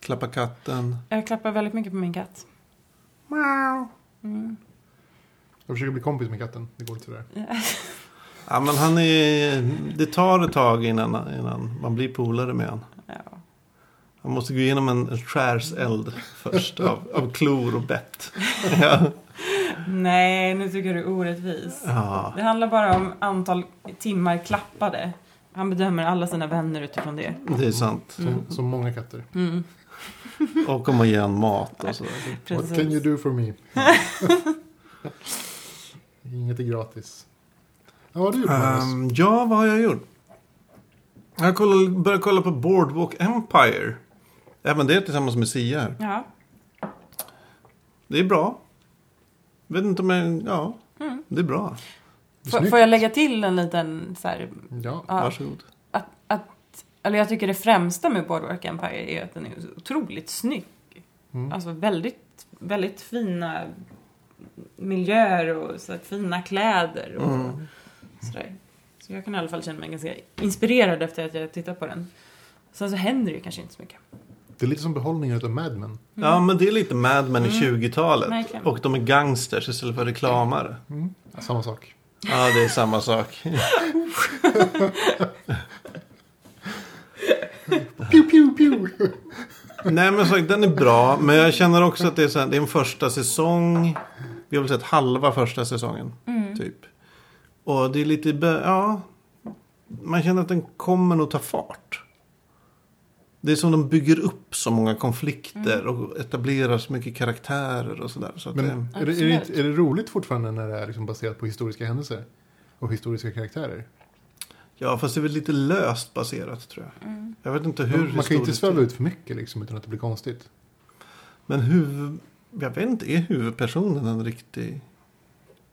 Klappa katten. Jag klappar väldigt mycket på min katt. Wow. Mm. Jag försöker bli kompis med katten. Det går inte sådär. Ja, men han är... Det tar ett tag innan, innan man blir polare med honom. Ja. Han måste gå igenom en, en skärseld först av, av klor och bett. Ja. Nej, nu tycker jag du är orättvis. Ja. Det handlar bara om antal timmar klappade. Han bedömer alla sina vänner utifrån det. Det är sant. Som, som många katter. Mm, Och om man ger honom mat och sådär. What can you precis. do for me? Inget är gratis. Ja, vad har du gjort Magnus? Ehm, ja, vad har jag gjort? Jag kollar, börjar kolla på Boardwalk Empire. Även det tillsammans med Sia här. Ja. Det är bra. Vet inte om jag... Ja, Mm. det är bra. Får, Snyggt. får jag lägga till en liten så här, Ja, ja, Varsågod. att, att, eller jag tycker det främsta med Boardwalk Empire är att den är så otroligt snygg. Mm. Alltså väldigt, väldigt fina miljöer och så här, fina kläder och Mm. sådär. Så jag kan i alla fall känna mig ganska inspirerad efter att jag tittat på den. Sen så händer det ju kanske inte så mycket. Det är lite som behållningar av Mad Men. Ja, men det är lite Mad Men i Mm. 20-talet. Verkligen. Och de är gangsters istället för reklamare. Mm. Samma sak. Ja, det är samma sak. Pew, pew, pew. Nej, men sagt, den är bra. Men jag känner också att det är, så här, det är en första säsong. Vi har väl sett halva första säsongen. Typ. Och det är lite, be- ja. Man känner att den kommer nog ta fart. Det är som de bygger upp så många konflikter och etablerar så mycket karaktärer och sådär. Så att Men det, är det, är, det, inte- är det roligt fortfarande när det är liksom baserat på historiska händelser? Och historiska karaktärer? ja, fast det är väl lite löst baserat tror jag. Mm. Jag vet inte hur Man, man kan ju inte historiskt sväva det är. ut för mycket liksom, utan att det blir konstigt. Men huvud... Jag vet inte, är huvudpersonen en riktig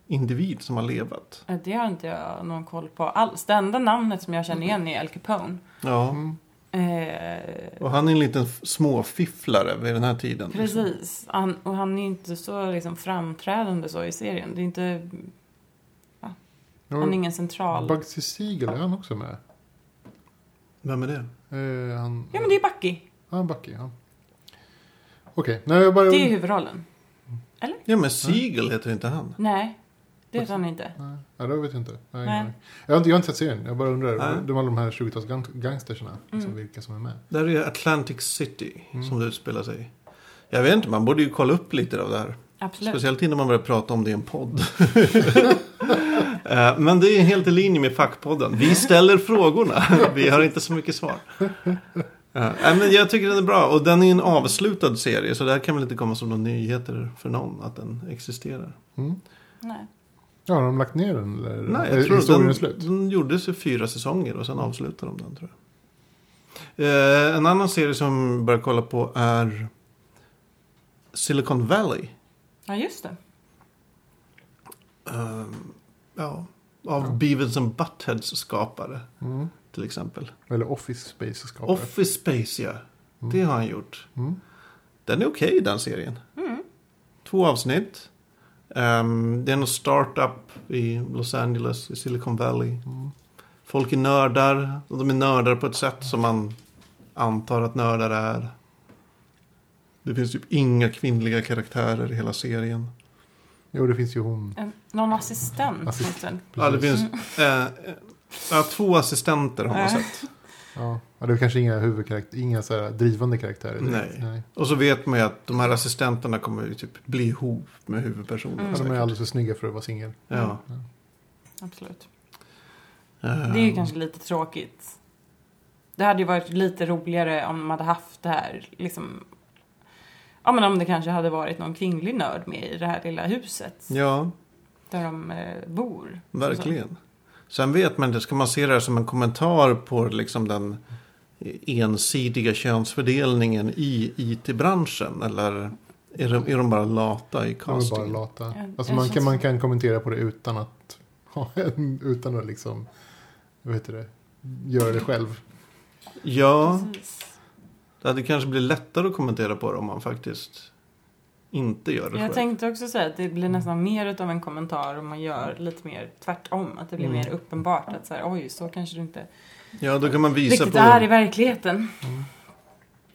individ som har levat? Ja, Det har inte jag någon koll på alls. Det enda namnet som jag känner igen är Al Capone. Ja. Mm. Eh, Och han är en liten f- småfifflare vid den här tiden. liksom. Precis. Han, och han är ju inte så liksom, framträdande så i serien. Det är inte, han är ingen central... Bugsy Siegel är han också med. Vem är det? Eh, han, Ja men det är Bucky. han Bucky, ja. Okej, nej jag bara... Det är huvudrollen. Ja, men Siegel heter inte han. Nej, det vet han inte. Nej, ja, det vet jag inte. Nej, Nej. nej. Jag, har inte. jag har inte sett serien, jag bara undrar. Nej. De alla de här 20-tals gang- gangsterserna, liksom, Mm. vilka som är med. Där är Atlantic City Mm. som det utspelar sig i. Jag vet inte, man borde ju kolla upp lite av det här. Absolut. Speciellt innan man börjar prata om det i en podd. Eh, Men det är helt i linje med fackpodden. Vi ställer frågorna. Vi har inte så mycket svar. Eh, nej, Men jag tycker den är bra. Och den är en avslutad serie. Så det här kan väl inte komma som några nyheter för någon att den existerar. Mm. Nej. Ja, har de lagt ner den eller? Nej, är jag tror historien den, slut? den gjordes i fyra säsonger och sen avslutade de den tror jag. Eh, en annan serie som jag börjar kolla på är Silicon Valley. Ja just det. Ehm, ja, av Ja. Beavis and Buttheads skapare Mm. till exempel. Eller Office Space skapare. Office Space ja, Mm. det har han gjort. Mm. Den är okej den serien. Två avsnitt. Ehm, det är någon startup i Los Angeles, i Silicon Valley. Mm. Folk är nördar. Och de är nördar på ett sätt som man antar att nördar är. Det finns typ inga kvinnliga karaktärer i hela serien. Jo, det finns ju hon. En- Någon assistent. Assist- heter den. Ja, det Precis. finns eh, eh, ja, två assistenter har man Nej. sett. Ja. Ja, det är kanske inga huvudkaraktärer, inga så här drivande karaktärer. direkt. Nej. Mm. Och så vet man ju att de här assistenterna kommer ju typ bli ihop med huvudpersonen. Mm. Ja, de är säkert. alldeles för snygga för att vara singel. ja. Absolut. Ehm, Det är ju kanske lite tråkigt. Det hade ju varit lite roligare om man hade haft det här liksom. Ja men om det kanske hade varit någon kvinnlig nörd med i det här lilla huset. Ja, Där de eh, bor. verkligen. Sen vet man inte, ska man se det här som en kommentar på liksom den ensidiga könsfördelningen i IT-branschen? Eller är de, är de bara lata i De är bara castingen? lata. Ja, Alltså jag man känns- kan, man kan kommentera på det utan att ha en, utan att liksom, vad heter det, göra det själv. Ja, Precis. det hade kanske blivit lättare att kommentera på det om man faktiskt inte gör det Jag själv. Mm. tänkte också säga att det blir nästan mer utav en kommentar om man gör lite mer tvärtom. Att det blir Mm. mer uppenbart att så här, oj, så kanske du inte Ja, då kan man visa riktigt på... är i verkligheten. Mm.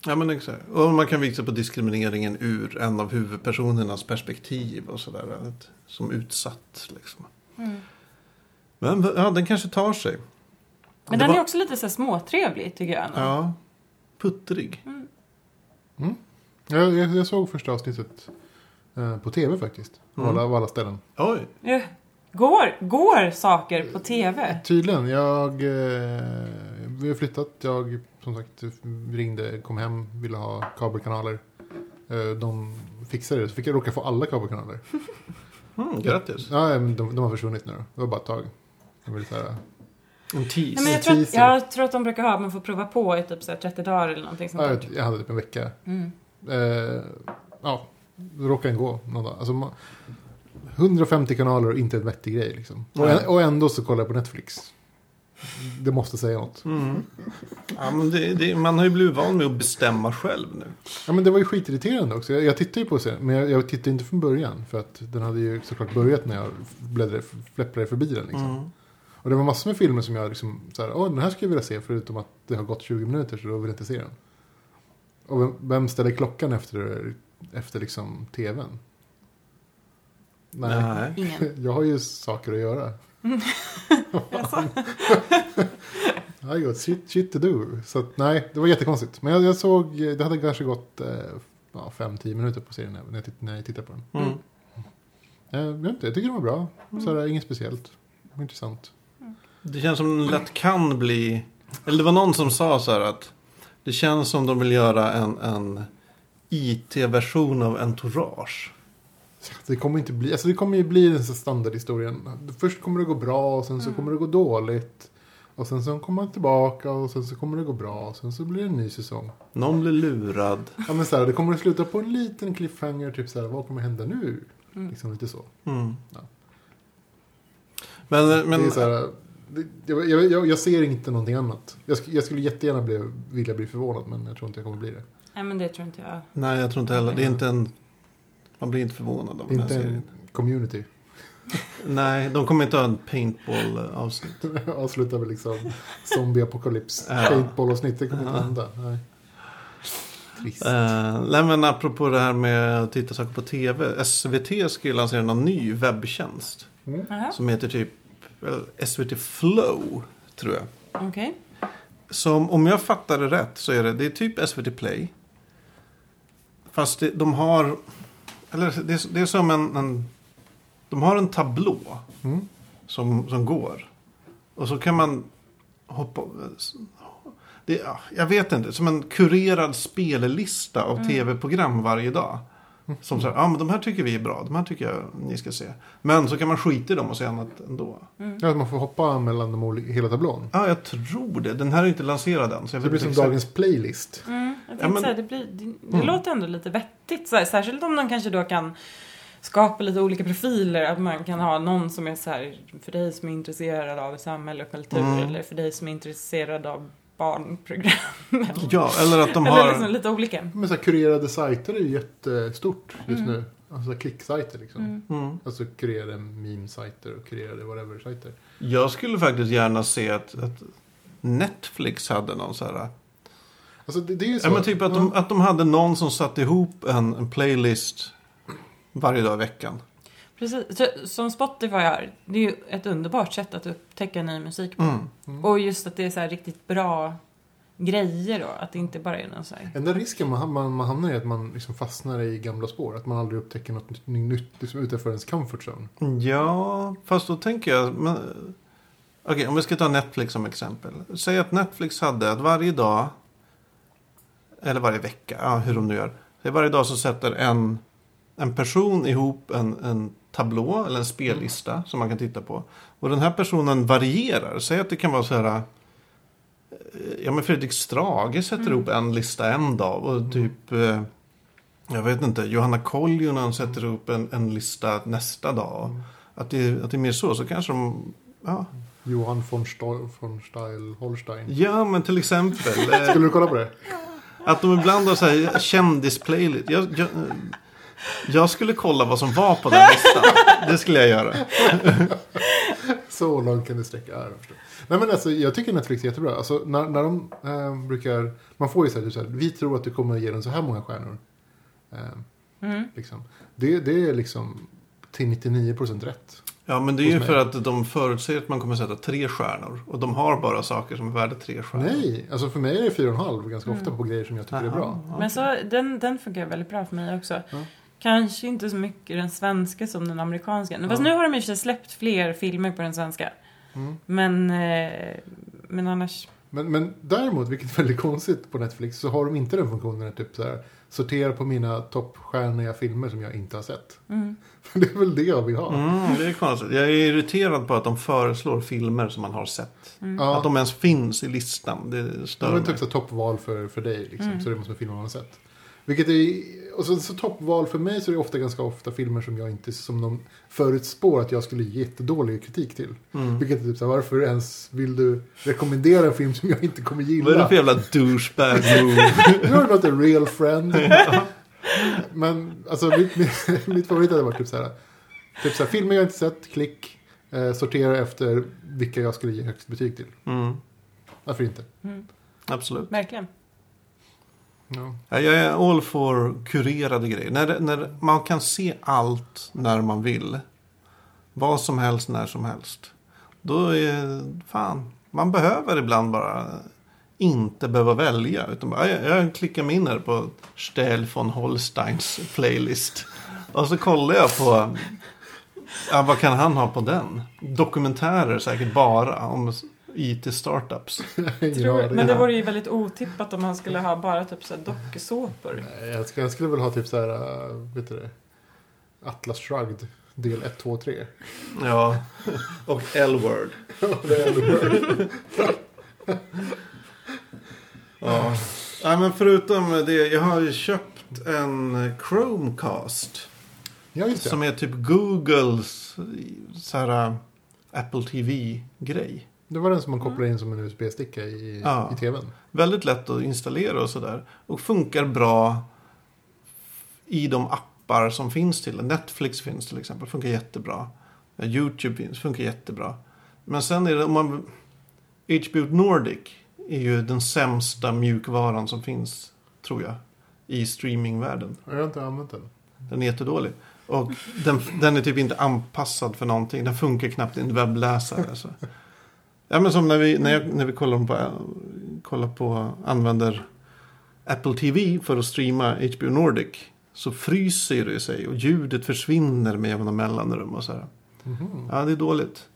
Ja, men exakt. Och man kan visa på diskrimineringen ur en av huvudpersonernas perspektiv och sådär. att- Som utsatt liksom. Mm. Men ja, den kanske tar sig. Men Det den var- är också lite så här småtrevlig tycker jag. Mm. ändå. Ja, puttrig. Jag, jag, jag såg första avsnittet eh, på tv faktiskt. Av Mm. alla, av alla ställen. Oj, Ja. Går, går saker på Mm. TV? Tydligen, jag, eh, vi har flyttat. Jag som sagt ringde, kom hem, ville ha kabelkanaler. Eh, de fixade det, så fick jag råka få alla kabelkanaler. mm, grattis. Ja, men de, de har försvunnit nu då. Det var bara ett tag. Jag ville så här, En Nej, tease. men jag, tror att, teaser. jag tror att de brukar ha att man får prova på i typ så här 30 dagar eller någonting sånt ja, där. jag, jag hade typ en vecka. Mm. Eh, ja, då råkade den gå någon dag. Alltså, man, 150 kanaler och inte en vettig grej liksom. Och, Nej. och ändå så kollar jag på Netflix. Det måste säga något. Mm. Ja, men det, det, man har ju blivit van med att bestämma själv nu. Ja men det var ju skitirriterande också. Jag, jag tittade ju på serien, men jag, jag tittade inte från början. För att den hade ju såklart börjat när jag bläddrade, fläpprade förbi den liksom. Mm. Och det var massor med filmer som jag liksom, så här, åh den här skulle jag vilja se. Förutom att det har gått 20 minuter så då vill jag inte se den. Och vem, vem ställer klockan efter, efter liksom tvn? Nej, Nej. Ingen. jag har ju saker att göra. I got shit, shit to do. Så att, nej, det var jättekonstigt. Men jag, jag såg, det hade kanske gått eh, ja, fem, tio minuter på serien när jag, titt- när jag tittade på den. Mm. Eh, jag, vet inte, jag tycker den var bra. Sådär, inget speciellt. Intressant. Det känns som den lätt kan bli... Eller det var någon som sa så här att det känns som de vill göra en, en IT-version av Entourage. Det kommer, inte bli, alltså det kommer ju bli den så standardhistorien. Först kommer det gå bra och sen Mm. så kommer det gå dåligt. Och sen så kommer man tillbaka och sen så kommer det gå bra och sen så blir det en ny säsong. Någon blir lurad. Ja men så här, det kommer att sluta på en liten cliffhanger, typ så här, vad kommer hända nu? Mm. Liksom lite så. Mm. Ja. Men, eh, men det är så här, det, jag, jag, jag, jag ser inte någonting annat. Jag, sk, jag skulle jättegärna bli, vilja bli förvånad men jag tror inte jag kommer bli det. Nej men det tror inte jag. nej, jag tror inte heller. Det är inte en... Man blir inte förvånad av den här inte en serien. community. Nej, de kommer inte ha en eh, paintball-avsnitt. Avsluta med liksom zombieapokalyps. Ja. Paintball-avsnitt, det kommer Ja. inte hända. Nej. Trist. Eh, nej men apropå det här med att titta saker på tv. SVT ska ju lansera någon ny webbtjänst. Mm. Jaha, Som heter typ eh, SVT Flow, tror jag. okej. Som om jag fattar det rätt så är det, det är typ SVT Play. Fast det, de har, eller det, är- det är som en, en, de har en tablå Mm. som, som går. Och så kan man hoppa, det, ja, jag vet inte, som en kurerad spellista av Mm. tv-program varje dag. Som så här, ja men de här tycker vi är bra, de här tycker jag ni ska se. Men så kan man skita i dem och se annat ändå. Ja, man får hoppa mellan de olika, hela tablån. Ja, jag tror det. Den här är inte lanserad än. Så jag Det blir vet inte som exakt. dagens playlist. Mm, jag tänkte men- Mm. säga, det, blir, det, det låter ändå lite vettigt. Så här, särskilt om de kanske då kan skapa lite olika profiler. Att man kan ha någon som är så här, för dig som är intresserad av samhälle och kultur. Mm. Eller för dig som är intresserad av barnprogram. Eller, Ja, eller att de eller har... liksom lite olika. Men så här, kurerade sajter är ju jättestort just nu. Alltså klicksajter liksom. Mm. Mm. Alltså kurerade meme-sajter och kurerade whatever-sajter. Jag skulle faktiskt gärna se att, att Netflix hade någon så här... Alltså det, det är ju så. Ja, men typ att de, att de hade någon som satte ihop en, en playlist varje dag i veckan. Precis, så, som Spotify har. Det är ju ett underbart sätt att upptäcka ny musik på. Mm. Och just att det är så här riktigt bra grejer då. Att det inte bara är någon så här. Enda risken man, man, man hamnar i är att man liksom fastnar i gamla spår. Att man aldrig upptäcker något nytt, nytt liksom utanför ens comfort zone. Ja, fast då tänker jag... Men, okej, om vi ska ta Netflix som exempel. Säg att Netflix hade att varje dag, eller varje vecka, ja, hur de nu gör. Säg varje dag så sätter en, en person ihop en, en tablå eller en spellista som man kan titta på. Och den här personen varierar. Säg att det kan vara så här... eh, Ja, men Fredrik Strage sätter ihop en lista en dag och typ... eh, Jag vet inte, Johanna Koljonen sätter Mm. ihop en, en lista nästa dag. Att det, att det är mer så, så kanske de... Ja, Johan von, Sto- von Steil Holstein. ja men till exempel. eh, Skulle du kolla på det? att de ibland har så här kändisplaylist. Jag, jag, eh, jag skulle kolla vad som var på den listan. Det skulle jag göra. Så långt kan det sträcka. Ja, jag förstår. Nej men alltså jag tycker Netflix är jättebra. Alltså när, när de eh, brukar... Man får ju så här, typ så här, vi tror att du kommer ge den så här många stjärnor. Eh, Mm. liksom. det, det är liksom till 99% rätt. Ja, men det är ju Hos för att de förutser att man kommer sätta tre stjärnor. Och de har bara saker som är värda tre stjärnor. Nej, alltså för mig är det 4,5 ganska ofta på grejer som jag tycker är Aha, bra. ja. Men så, den, den funkar väldigt bra för mig också. Ja. Kanske inte så mycket den svenska som den amerikanska. Fast Ja. nu har de i och för sig släppt fler filmer på den svenska. Mm. Men, eh, men annars... Men, men däremot, vilket är väldigt konstigt på Netflix, så har de inte den funktionen att typ så här, sortera på mina toppstjärniga filmer som jag inte har sett. Mm. För det är väl det jag vill ha. Mm, det är konstigt. Jag är irriterad på att de föreslår filmer som man har sett. mm, Ja, Att de ens finns i listan. Det det stör var mig. typ så här toppval för, för dig, liksom, Mm. så det måste vara filmer man har sett. Vilket är, och så, så toppval för mig så är det ofta ganska ofta filmer som jag inte, som de förutspår att jag skulle ge jättedålig kritik till. Mm. Vilket är typ så här, varför ens vill du rekommendera en film som jag inte kommer gilla? Vad är det för jävla douchebag move? You're not a real friend. Men alltså mitt, mitt, mitt favorit hade varit typ så här. Typ så här, filmer jag inte sett, klick. Eh, sortera efter vilka jag skulle ge högst betyg till. Mm, Varför inte? Mm. absolut. Verkligen. Ja. Ja, Jag är all for kurerade grejer. När, när man kan se allt när man vill. Vad som helst, när som helst. Då är fan, man behöver ibland bara inte behöva välja. Utan bara, jag, jag klickar mig in här på Stel von Holsteins playlist. Och så kollar jag på, ja, vad kan han ha på den? Dokumentärer säkert bara om IT-startups. Tror, Ja, det- men det vore ju väldigt otippat om han skulle ha bara typ så här dokusåpor. Nej, Jag skulle, jag skulle väl ha typ så här, äh, vet du det? Atlas Shrugged del 1, 2, 3. Ja, och L-word. Det är ändå- Ja. Nej, men förutom det, jag har ju köpt en Chromecast. ja, just Som det. är typ Googles eh, så här, Apple TV-grej. Det var den som man kopplade in som en USB-sticka i, Ja. i tvn. Väldigt lätt att installera och sådär. Och funkar bra i de appar som finns till den. Netflix finns till exempel, funkar jättebra. YouTube finns, funkar jättebra. Men sen är det om man... HBO Nordic är ju den sämsta mjukvaran som finns, tror jag, i streamingvärlden. Jag har inte använt den. Den är jättedålig. Och den, den är typ inte anpassad för någonting. Den funkar knappt i en webbläsare. Så. Ja, men som när vi, när jag, när vi kollar, på, kollar på, använder Apple TV för att streama HBO Nordic. Så fryser det sig och ljudet försvinner med jämna mellanrum och så här. Mhm. Ja, det är dåligt.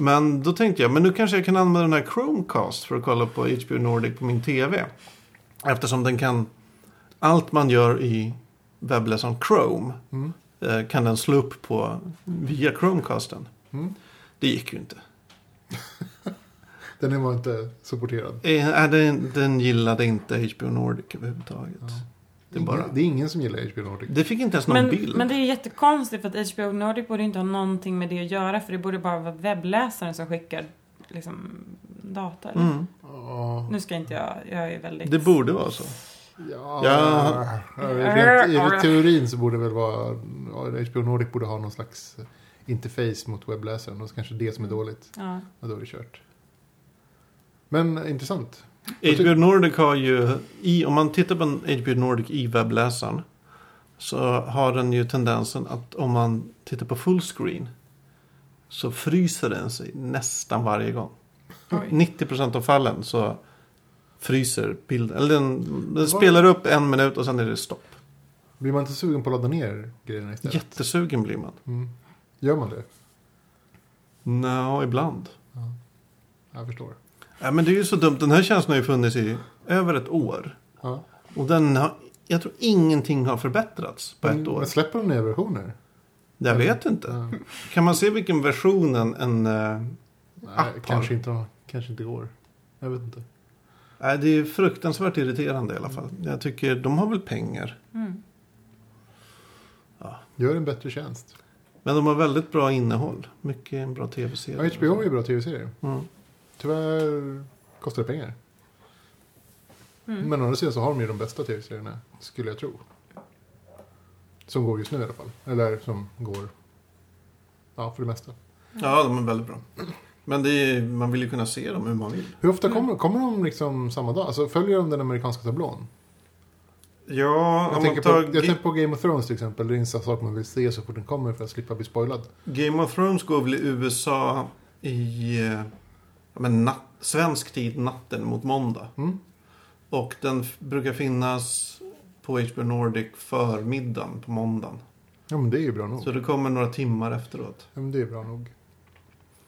Men då tänkte jag, men nu kanske jag kan använda den här Chromecast för att kolla på HBO Nordic på min TV. Eftersom den kan, allt man gör i webbläsaren Chrome Mm. eh, kan den slå upp på via Chromecasten. Mm. Det gick ju inte. Den var inte supporterad. Eh, eh, den, den gillade inte HBO Nordic överhuvudtaget. Ja. Det, är bara, det är ingen som gillar HBO Nordic. det fick inte ens någon Men, bild. men det är jättekonstigt för att HBO Nordic borde inte ha någonting med det att göra för det borde bara vara webbläsaren som skickar liksom, data. eller? Mm. Ja. Nu ska inte jag, jag är väldigt... det borde vara så. Ja. Ja. Rent, I teorin så borde det väl vara... ja, HBO Nordic borde ha någon slags eh, interface mot webbläsaren. Och så kanske det som är dåligt. Ja. Och då är det kört. Men eh, intressant. HBO Nordic har ju, i, om man tittar på en HBO Nordic i webbläsaren. Så har den ju tendensen att om man tittar på fullscreen. Så fryser den sig nästan varje gång. Oj. 90% av fallen så fryser bilden. Eller den, den Vad- spelar upp en minut och sen är det stopp. Blir man inte sugen på att ladda ner grejerna istället? Jättesugen blir man. Mm. Gör man det? Nja, ibland. Jag förstår. Ja, men det är ju så dumt. Den här tjänsten har ju funnits i över ett år. Ja. Och den har, jag tror ingenting har förbättrats på ett år. Mm. Men släpper de nya versioner? Jag vet inte. Ja. Kan man se vilken version en... en eh, Nej, Appar. kanske inte, kanske inte går. Jag vet inte. nej, det är fruktansvärt irriterande i alla fall. Jag tycker de har väl pengar. Mm. Gör en bättre tjänst. Men de har väldigt bra innehåll. Mycket bra Ja, tv-serier. HBO är ju bra tv-serier. Mm. Tyvärr kostar det pengar. Mm. Men å andra sidan så har de ju de bästa tv-serierna, skulle jag tro. Som går just nu i alla fall. Eller som går, ja, för det mesta. Ja, de är väldigt bra. Men det är, man vill ju kunna se dem hur man vill. Hur ofta kommer, kommer de liksom samma dag? Alltså följer de den amerikanska tablån? Ja, Jag, om man tänker, tar på, jag Ga- tänker på Game of Thrones till exempel. Det är en sån sak man vill se så fort den kommer för att slippa bli spoilad. Game of Thrones går väl i USA i eh, ja, men natt, svensk tid natten mot måndag. Mm? Och den f- brukar finnas på HBO Nordic förmiddagen på måndagen. Ja, men det är ju bra nog. Så det kommer några timmar efteråt. Ja, men det är bra nog.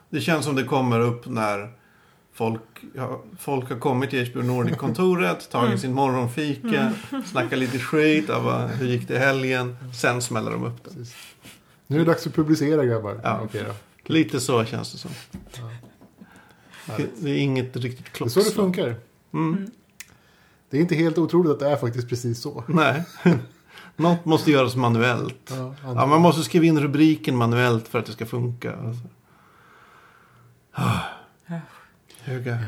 Det känns som det kommer upp när folk, ja, folk har kommit till HBO Nordic-kontoret, tagit Mm. sin morgonfika, snackat lite skit, ja, va, hur gick det i helgen? Sen smäller de upp det. Precis. Nu är det dags att publicera grabbar. Ja. Okej då. Lite så känns det som. Ja. Det, det är inget riktigt Det är så det klockslag. funkar. Mm. Mm. Det är inte helt otroligt att det är faktiskt precis så. Nej. Något måste göras manuellt. Ja, Ja, man måste skriva in rubriken manuellt för att det ska funka. Alltså. Ah. Ja. Höga.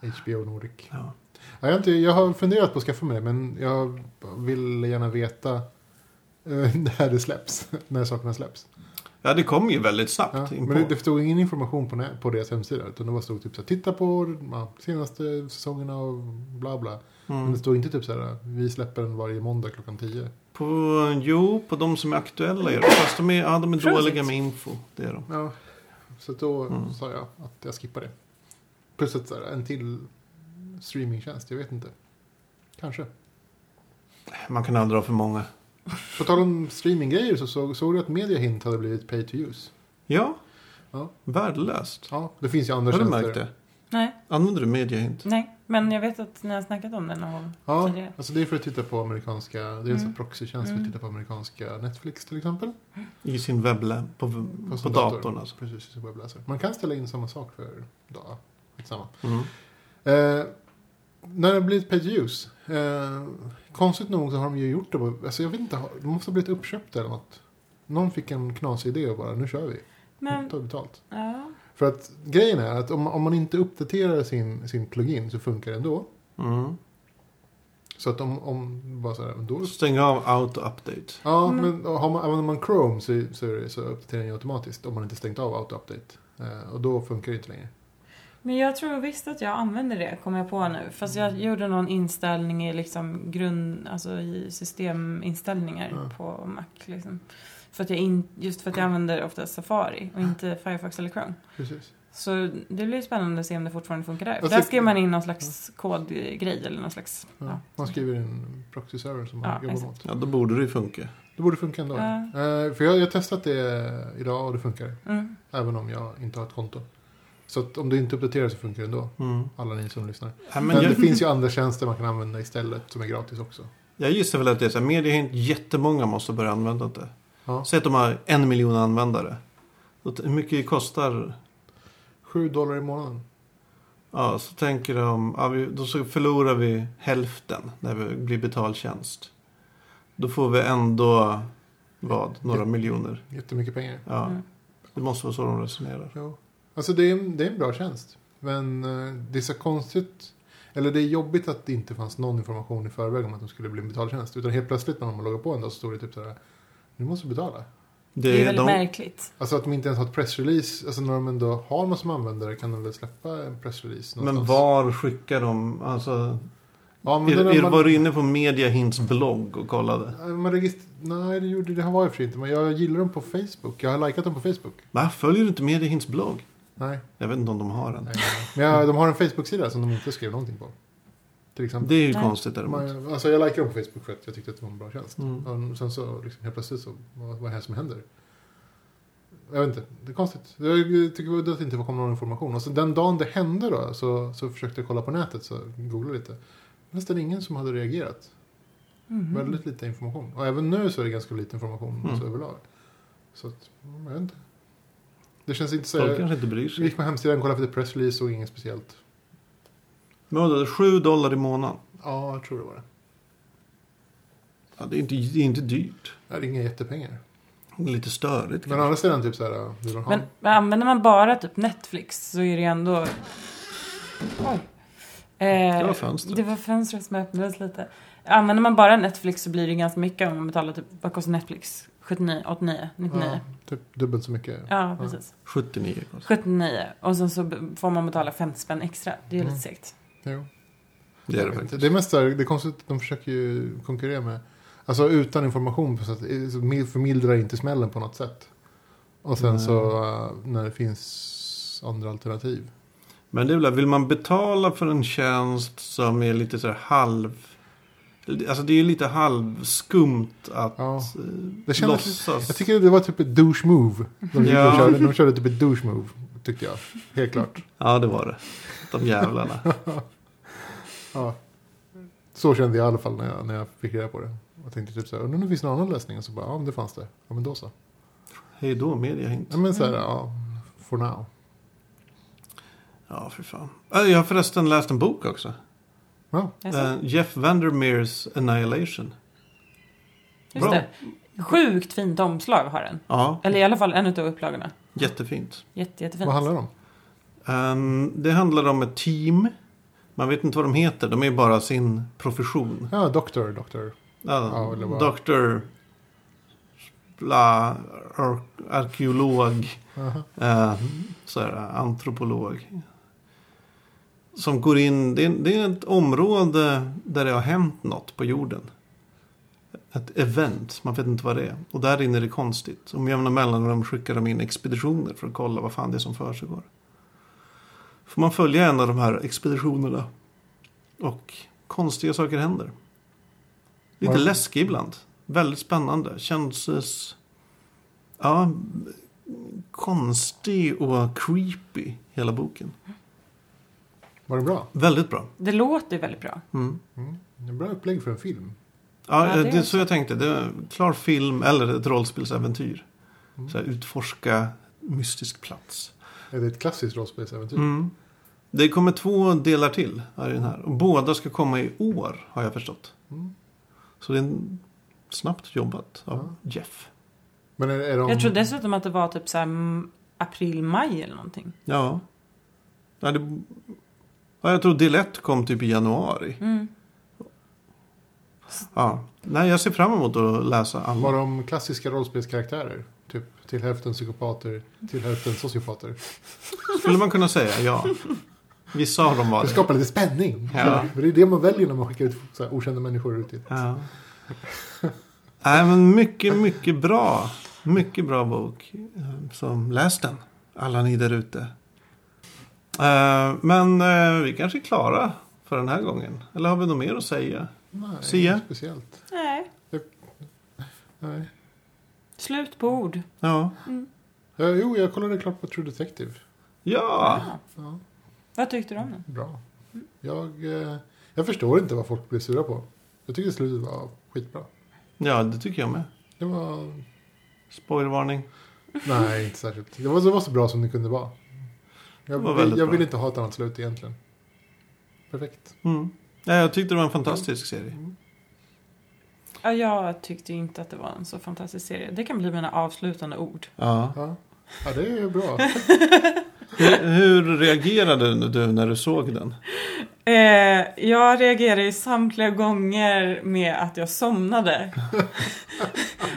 HBO Nordic. Ja. Ja, jag, har inte, jag har funderat på att skaffa mig det, men jag vill gärna veta eh, när det släpps. när sakerna släpps. Ja, det kom ju väldigt Ja, snabbt. in men det, på. det stod ingen information på, nä- på deras hemsida. Utan det var stod typ så här, titta på de senaste säsongerna och bla bla. Men Mm. det stod inte typ så här, vi släpper den varje måndag klockan 10. På, jo, på de som är aktuella. är det. Fast de är, ja, de är Transit. dåliga med info. Det är de. Ja, så då Mm. sa jag att jag skippar det. Plus att så här, en till streamingtjänst, jag vet inte. Kanske. Man kan aldrig ha för många. På tal om streaminggrejer så såg, såg du att Mediahint hade blivit pay to use. Ja, Ja. värdelöst. Ja, det finns ju andra Har du märkt det? Nej, Använder du mediahint? nej. Men jag vet att ni har snackat om den någon gång Ja, tidigare. alltså det är för att titta på amerikanska, det är en sån här Mm. proxytjänst för att Mm. titta på amerikanska Netflix till exempel. I sin webbläm, på, På på sin dator. datorn alltså. Precis, som webbläsare. Man kan ställa in samma sak för data. Samma. Mm. Eh, när det blir ett page use. Eh, konstigt nog så har de ju gjort det. på- Alltså jag vet inte, har- de måste ha blivit uppköpta eller något. Någon fick en knasig idé och bara nu kör vi. Nu Men, tar vi betalt. ja. För att grejen är att om, om man inte uppdaterar sin, sin plugin så funkar det ändå. Mm. Så att om, om bara så här, då Stäng av auto update. Ja, Mm. men har man, använder man Chrome så, så, är det, så uppdaterar den ju automatiskt. Om man inte stängt av auto-update. Eh, och då funkar det inte längre. Men jag tror visst att jag använder det, kommer jag på nu. Fast jag Mm. gjorde någon inställning i liksom grund, alltså i systeminställningar Ja. på Mac liksom. För att jag in, just för att jag använder ofta Safari och inte Firefox eller Chrome. Precis. Så det blir spännande att se om det fortfarande funkar där. För Alltså- där skrev man in någon slags kodgrej eller någon slags... Ja. Ja. Man skriver en proxy-server som man Ja, jobbar exakt. mot. Ja, då borde det ju funka. Det borde funka ändå. Ja. Eh, för jag jag har testat det idag och det funkar. Mm. Även om jag inte har ett konto. Så att om du inte uppdaterar så funkar det ändå. Mm. Alla ni som lyssnar. Ja, Men, men jag, det finns ju andra tjänster man kan använda istället som är gratis också. jag gissar väl att det är så här, mediahint, jättemånga måste börja använda det. Ja. Säg att de har en miljon användare. Och t- Hur mycket kostar... 7 dollar i månaden. Ja, så tänker de, ja, vi, då så förlorar vi hälften när vi blir betaltjänst. Då får vi ändå, vad, några miljoner. Jättemycket pengar. Ja, Mm. det måste vara så de resonerar. Ja. Alltså det är, en- det är en bra tjänst. Men eh, det är så konstigt. Eller det är jobbigt att det inte fanns någon information i förväg om att de skulle bli en betaltjänst. Utan helt plötsligt när man loggar på en dag så står det typ sådär. Nu måste du betala. Det, Det är är de, väldigt märkligt. Alltså att de inte ens har ett pressrelease. Alltså när de ändå har någon som användare kan de väl släppa en pressrelease men någonstans. var skickar de? Alltså, Ja, men är, den- är, man, var du inne på Mediahints blogg och kollade? Nej, man registr- Nej, det gjorde det här var jag för sig inte. Men jag gillar dem på Facebook. Jag har likat dem på Facebook. Va, följer du inte Mediahints blogg? Nej. Jag vet inte om de har en. nej. Men jag, de har en Facebook-sida som de inte skrev någonting på. Till exempel. Det är ju Nej. konstigt däremot. Man, alltså Mm. jag likade dem på Facebook för att jag tyckte att det var en bra tjänst. Mm. Och sen så liksom helt plötsligt så, vad, vad är det här som händer? Jag vet inte, det är konstigt. Jag tycker det var udda att det inte kom någon information. Och så den dagen det hände då så, så försökte jag kolla på nätet, så googlade lite. Nästan ingen som hade reagerat. Mhm. Väldigt lite information. Och även nu så är det ganska lite information Mm. alltså, överlag. Så att, mm, jag vet inte. Det känns inte så... Folk Jag kanske inte bryr sig. gick på hemsidan, kollade efter pressrelease och inget speciellt. Men vadå, 7 dollar i månaden? Ja, jag tror det var det. Ja, det, är inte, det är inte dyrt. Det är inga jättepengar. Det är Lite störigt Men å kanske. andra sidan typ så här, vill man ha Men men använder man bara typ Netflix så är det ju ändå... Oj. Eh, Det var fönstret. Det var fönstret som öppnades lite. Använder man bara Netflix så blir det ganska mycket om man betalar typ, vad kostar Netflix? 79, 89, 99? Ja, Ja, typ dubbelt så mycket. precis. 79 kostar 79. Och sen så b- får man betala 50 spänn extra. Det är ju Mm. lite segt. Jo. Det är Jag det vet inte. faktiskt. det är mest där, det är konstigt att de försöker ju konkurrera med, alltså utan information på så att eh, så mil- förmildrar inte smällen på något sätt. Och sen Nej. så eh, när det finns andra alternativ. Men det är väl, vill man betala för en tjänst som är lite så här halv... Alltså det är ju lite halvskumt att Ja. eh, Det kändes- låtsas. Jag tycker det var typ ett douche move. De, Ja. de, körde, de körde typ ett douche move, tyckte jag. Helt klart. Ja, det var det. De jävlarna. Ja. Så kände jag i alla fall när jag, när jag fick reda på det. Jag tänkte typ så här, undrar om det finns någon annan lösning? Och så bara, ja men det fanns det. Ja men då så. Hej då, mediahint. Ja men så här, ja, for now. Ja, för fan. Äh, Jag har förresten läst en bok också. Ja, Jaså? Eh, Jeff Vandermeers Annihilation. Just bra. det. Sjukt fint omslag har den. Ja, Eller i alla fall en utav upplagorna. jättefint. Jätte, jättefint. vad handlar det om? Ehm, det handlar om ett team. Man vet inte vad de heter. De är bara sin profession. Ja, doktor, doktor. Ja, Ja, eller vad- Dr. jävla ar- arkeolog. Aha. Eh, så här, antropolog. Som går in, det är, det är ett område där det har hänt något på jorden. Ett event, man vet inte vad det är. Och där inne är det konstigt. Om jämna mellanrum skickar de in expeditioner för att kolla vad fan det är som försiggår. Får man följa en av de här expeditionerna. Och konstiga saker händer. Lite Ja. läskig ibland. Väldigt spännande. Känns... eh, s- Ja, konstig och creepy, hela boken. Var det bra? Väldigt bra. Det låter ju väldigt bra. Mm. Mm. Det är Bra upplägg för en film. Ja, Ja, det eh, är det är också- så jag tänkte. Det är en klar film eller ett rollspelsäventyr. Mm. Så här, utforska mystisk plats. Är det ett klassiskt rollspelsäventyr? Mm. Det kommer två delar till här i den här. Och båda ska komma i år, har jag förstått. Mm. Så det är en... snabbt jobbat av Jeff. Men är, är de... Jag tror dessutom att det var typ så här mm, april, maj eller någonting. Ja. ja, det... ja jag tror del ett kom typ i januari. Mm. Ja. Nej, jag ser fram emot att läsa alla. Var de klassiska rollspelskaraktärer? Typ till hälften psykopater, till hälften sociopater. Skulle man kunna säga, ja. Vissa av dem var Det det. skapar lite spänning. Ja. För det är det man väljer när man skickar ut så här, okända människor ut i ett... Ja. Nej, men mycket, mycket bra. Mycket bra bok. eh, Som läs den, alla ni där ute. Eh, Men eh, vi kanske är klara för den här gången. Eller har vi något mer att säga? Nej, Sia? inget speciellt. Nej, Nej. slut på ord. Ja. Mm. Eh, jo, jag kollade klart på True Detective. Ja. Ja. Ja, Ah. Vad tyckte du om den? bra. Jag, eh, jag förstår inte vad folk blir sura på. Jag tycker slutet var skitbra. Ja, det tycker jag med. Det var... Spoilervarning. Nej, inte särskilt. Det var, det var så bra som det kunde vara. Jag, Det var vill- väldigt jag bra. vill inte ha ett annat slut egentligen. Perfekt. Mm. Ja, jag tyckte det var en fantastisk serie. Ja, jag tyckte ju inte att det var en så fantastisk serie. Det kan bli mina avslutande ord. Ja. Ja, ja det är bra. Hur, hur reagerade du när du såg den? Eh, jag reagerade ju samtliga gånger med att jag somnade.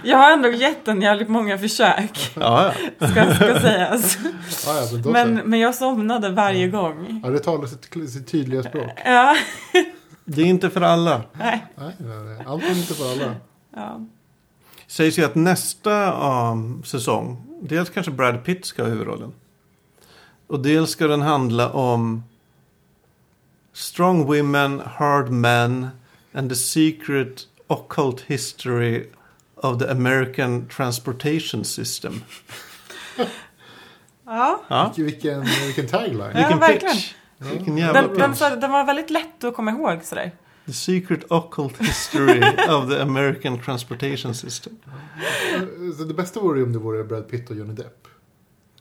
jag har ändå gett den jävligt många försök, Ja, ja. ska, ska sägas. Ja, ja, men då Men, så. men jag somnade varje gång. Ja, det talar sitt, sitt tydliga språk. Ja, Det är inte för alla. nej. Nej, nej, nej. Allt är inte för alla. Ja. sägs ju att nästa um, säsong, dels kanske Brad Pitt ska ha huvudrollen. Och dels ska den handla om Strong Women, Hard Men and the Secret Occult History of the American Transportation System. ja. Ja, Vilken- Vilken, vilken tagline. Ja. vilken verkligen. pitch. Vilken Ja. jävla Den, den, pitch. så, den var väldigt lätt att komma ihåg sådär. The Secret Occult History of the American Transportation System. Så det bästa vore ju om det vore Brad Pitt och Johnny Depp.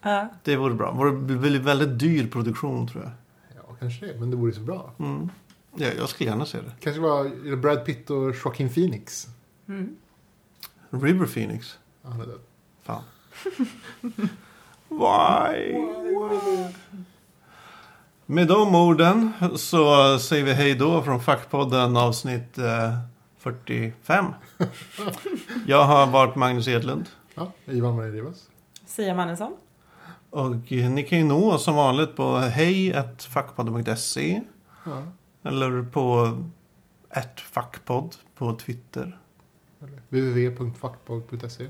Ja. Det vore bra. Det vore väldigt dyr produktion tror jag. Ja, kanske det. Men det vore så bra. Mm. Ja, jag skulle gärna se det. Kanske var är det Brad Pitt och Joaquin Phoenix. Mm. River Phoenix? Ja, Han är död. Fan. Why? Med de orden så säger vi hej då från Fackpodden avsnitt eh, 45. Jag har varit Magnus Edlund. Ja, Ivan Marie Rivas. Sia Mannesson. Och eh, ni kan ju nå oss som vanligt på hej.fackpodden.se Ja. eller på ett fackpodd på Twitter. eller www.fuckbog.se.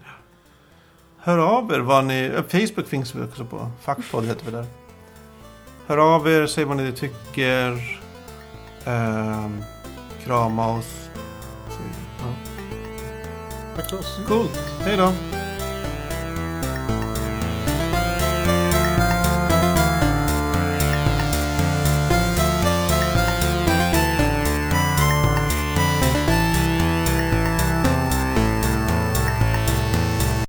Hör av er vad ni... eh, Facebook finns vi också på. Fackpodd heter vi där. Hör av er, säg vad ni tycker. Ehm, krama oss. Så vidare. Tack för oss. Coolt. Hej då. Hej.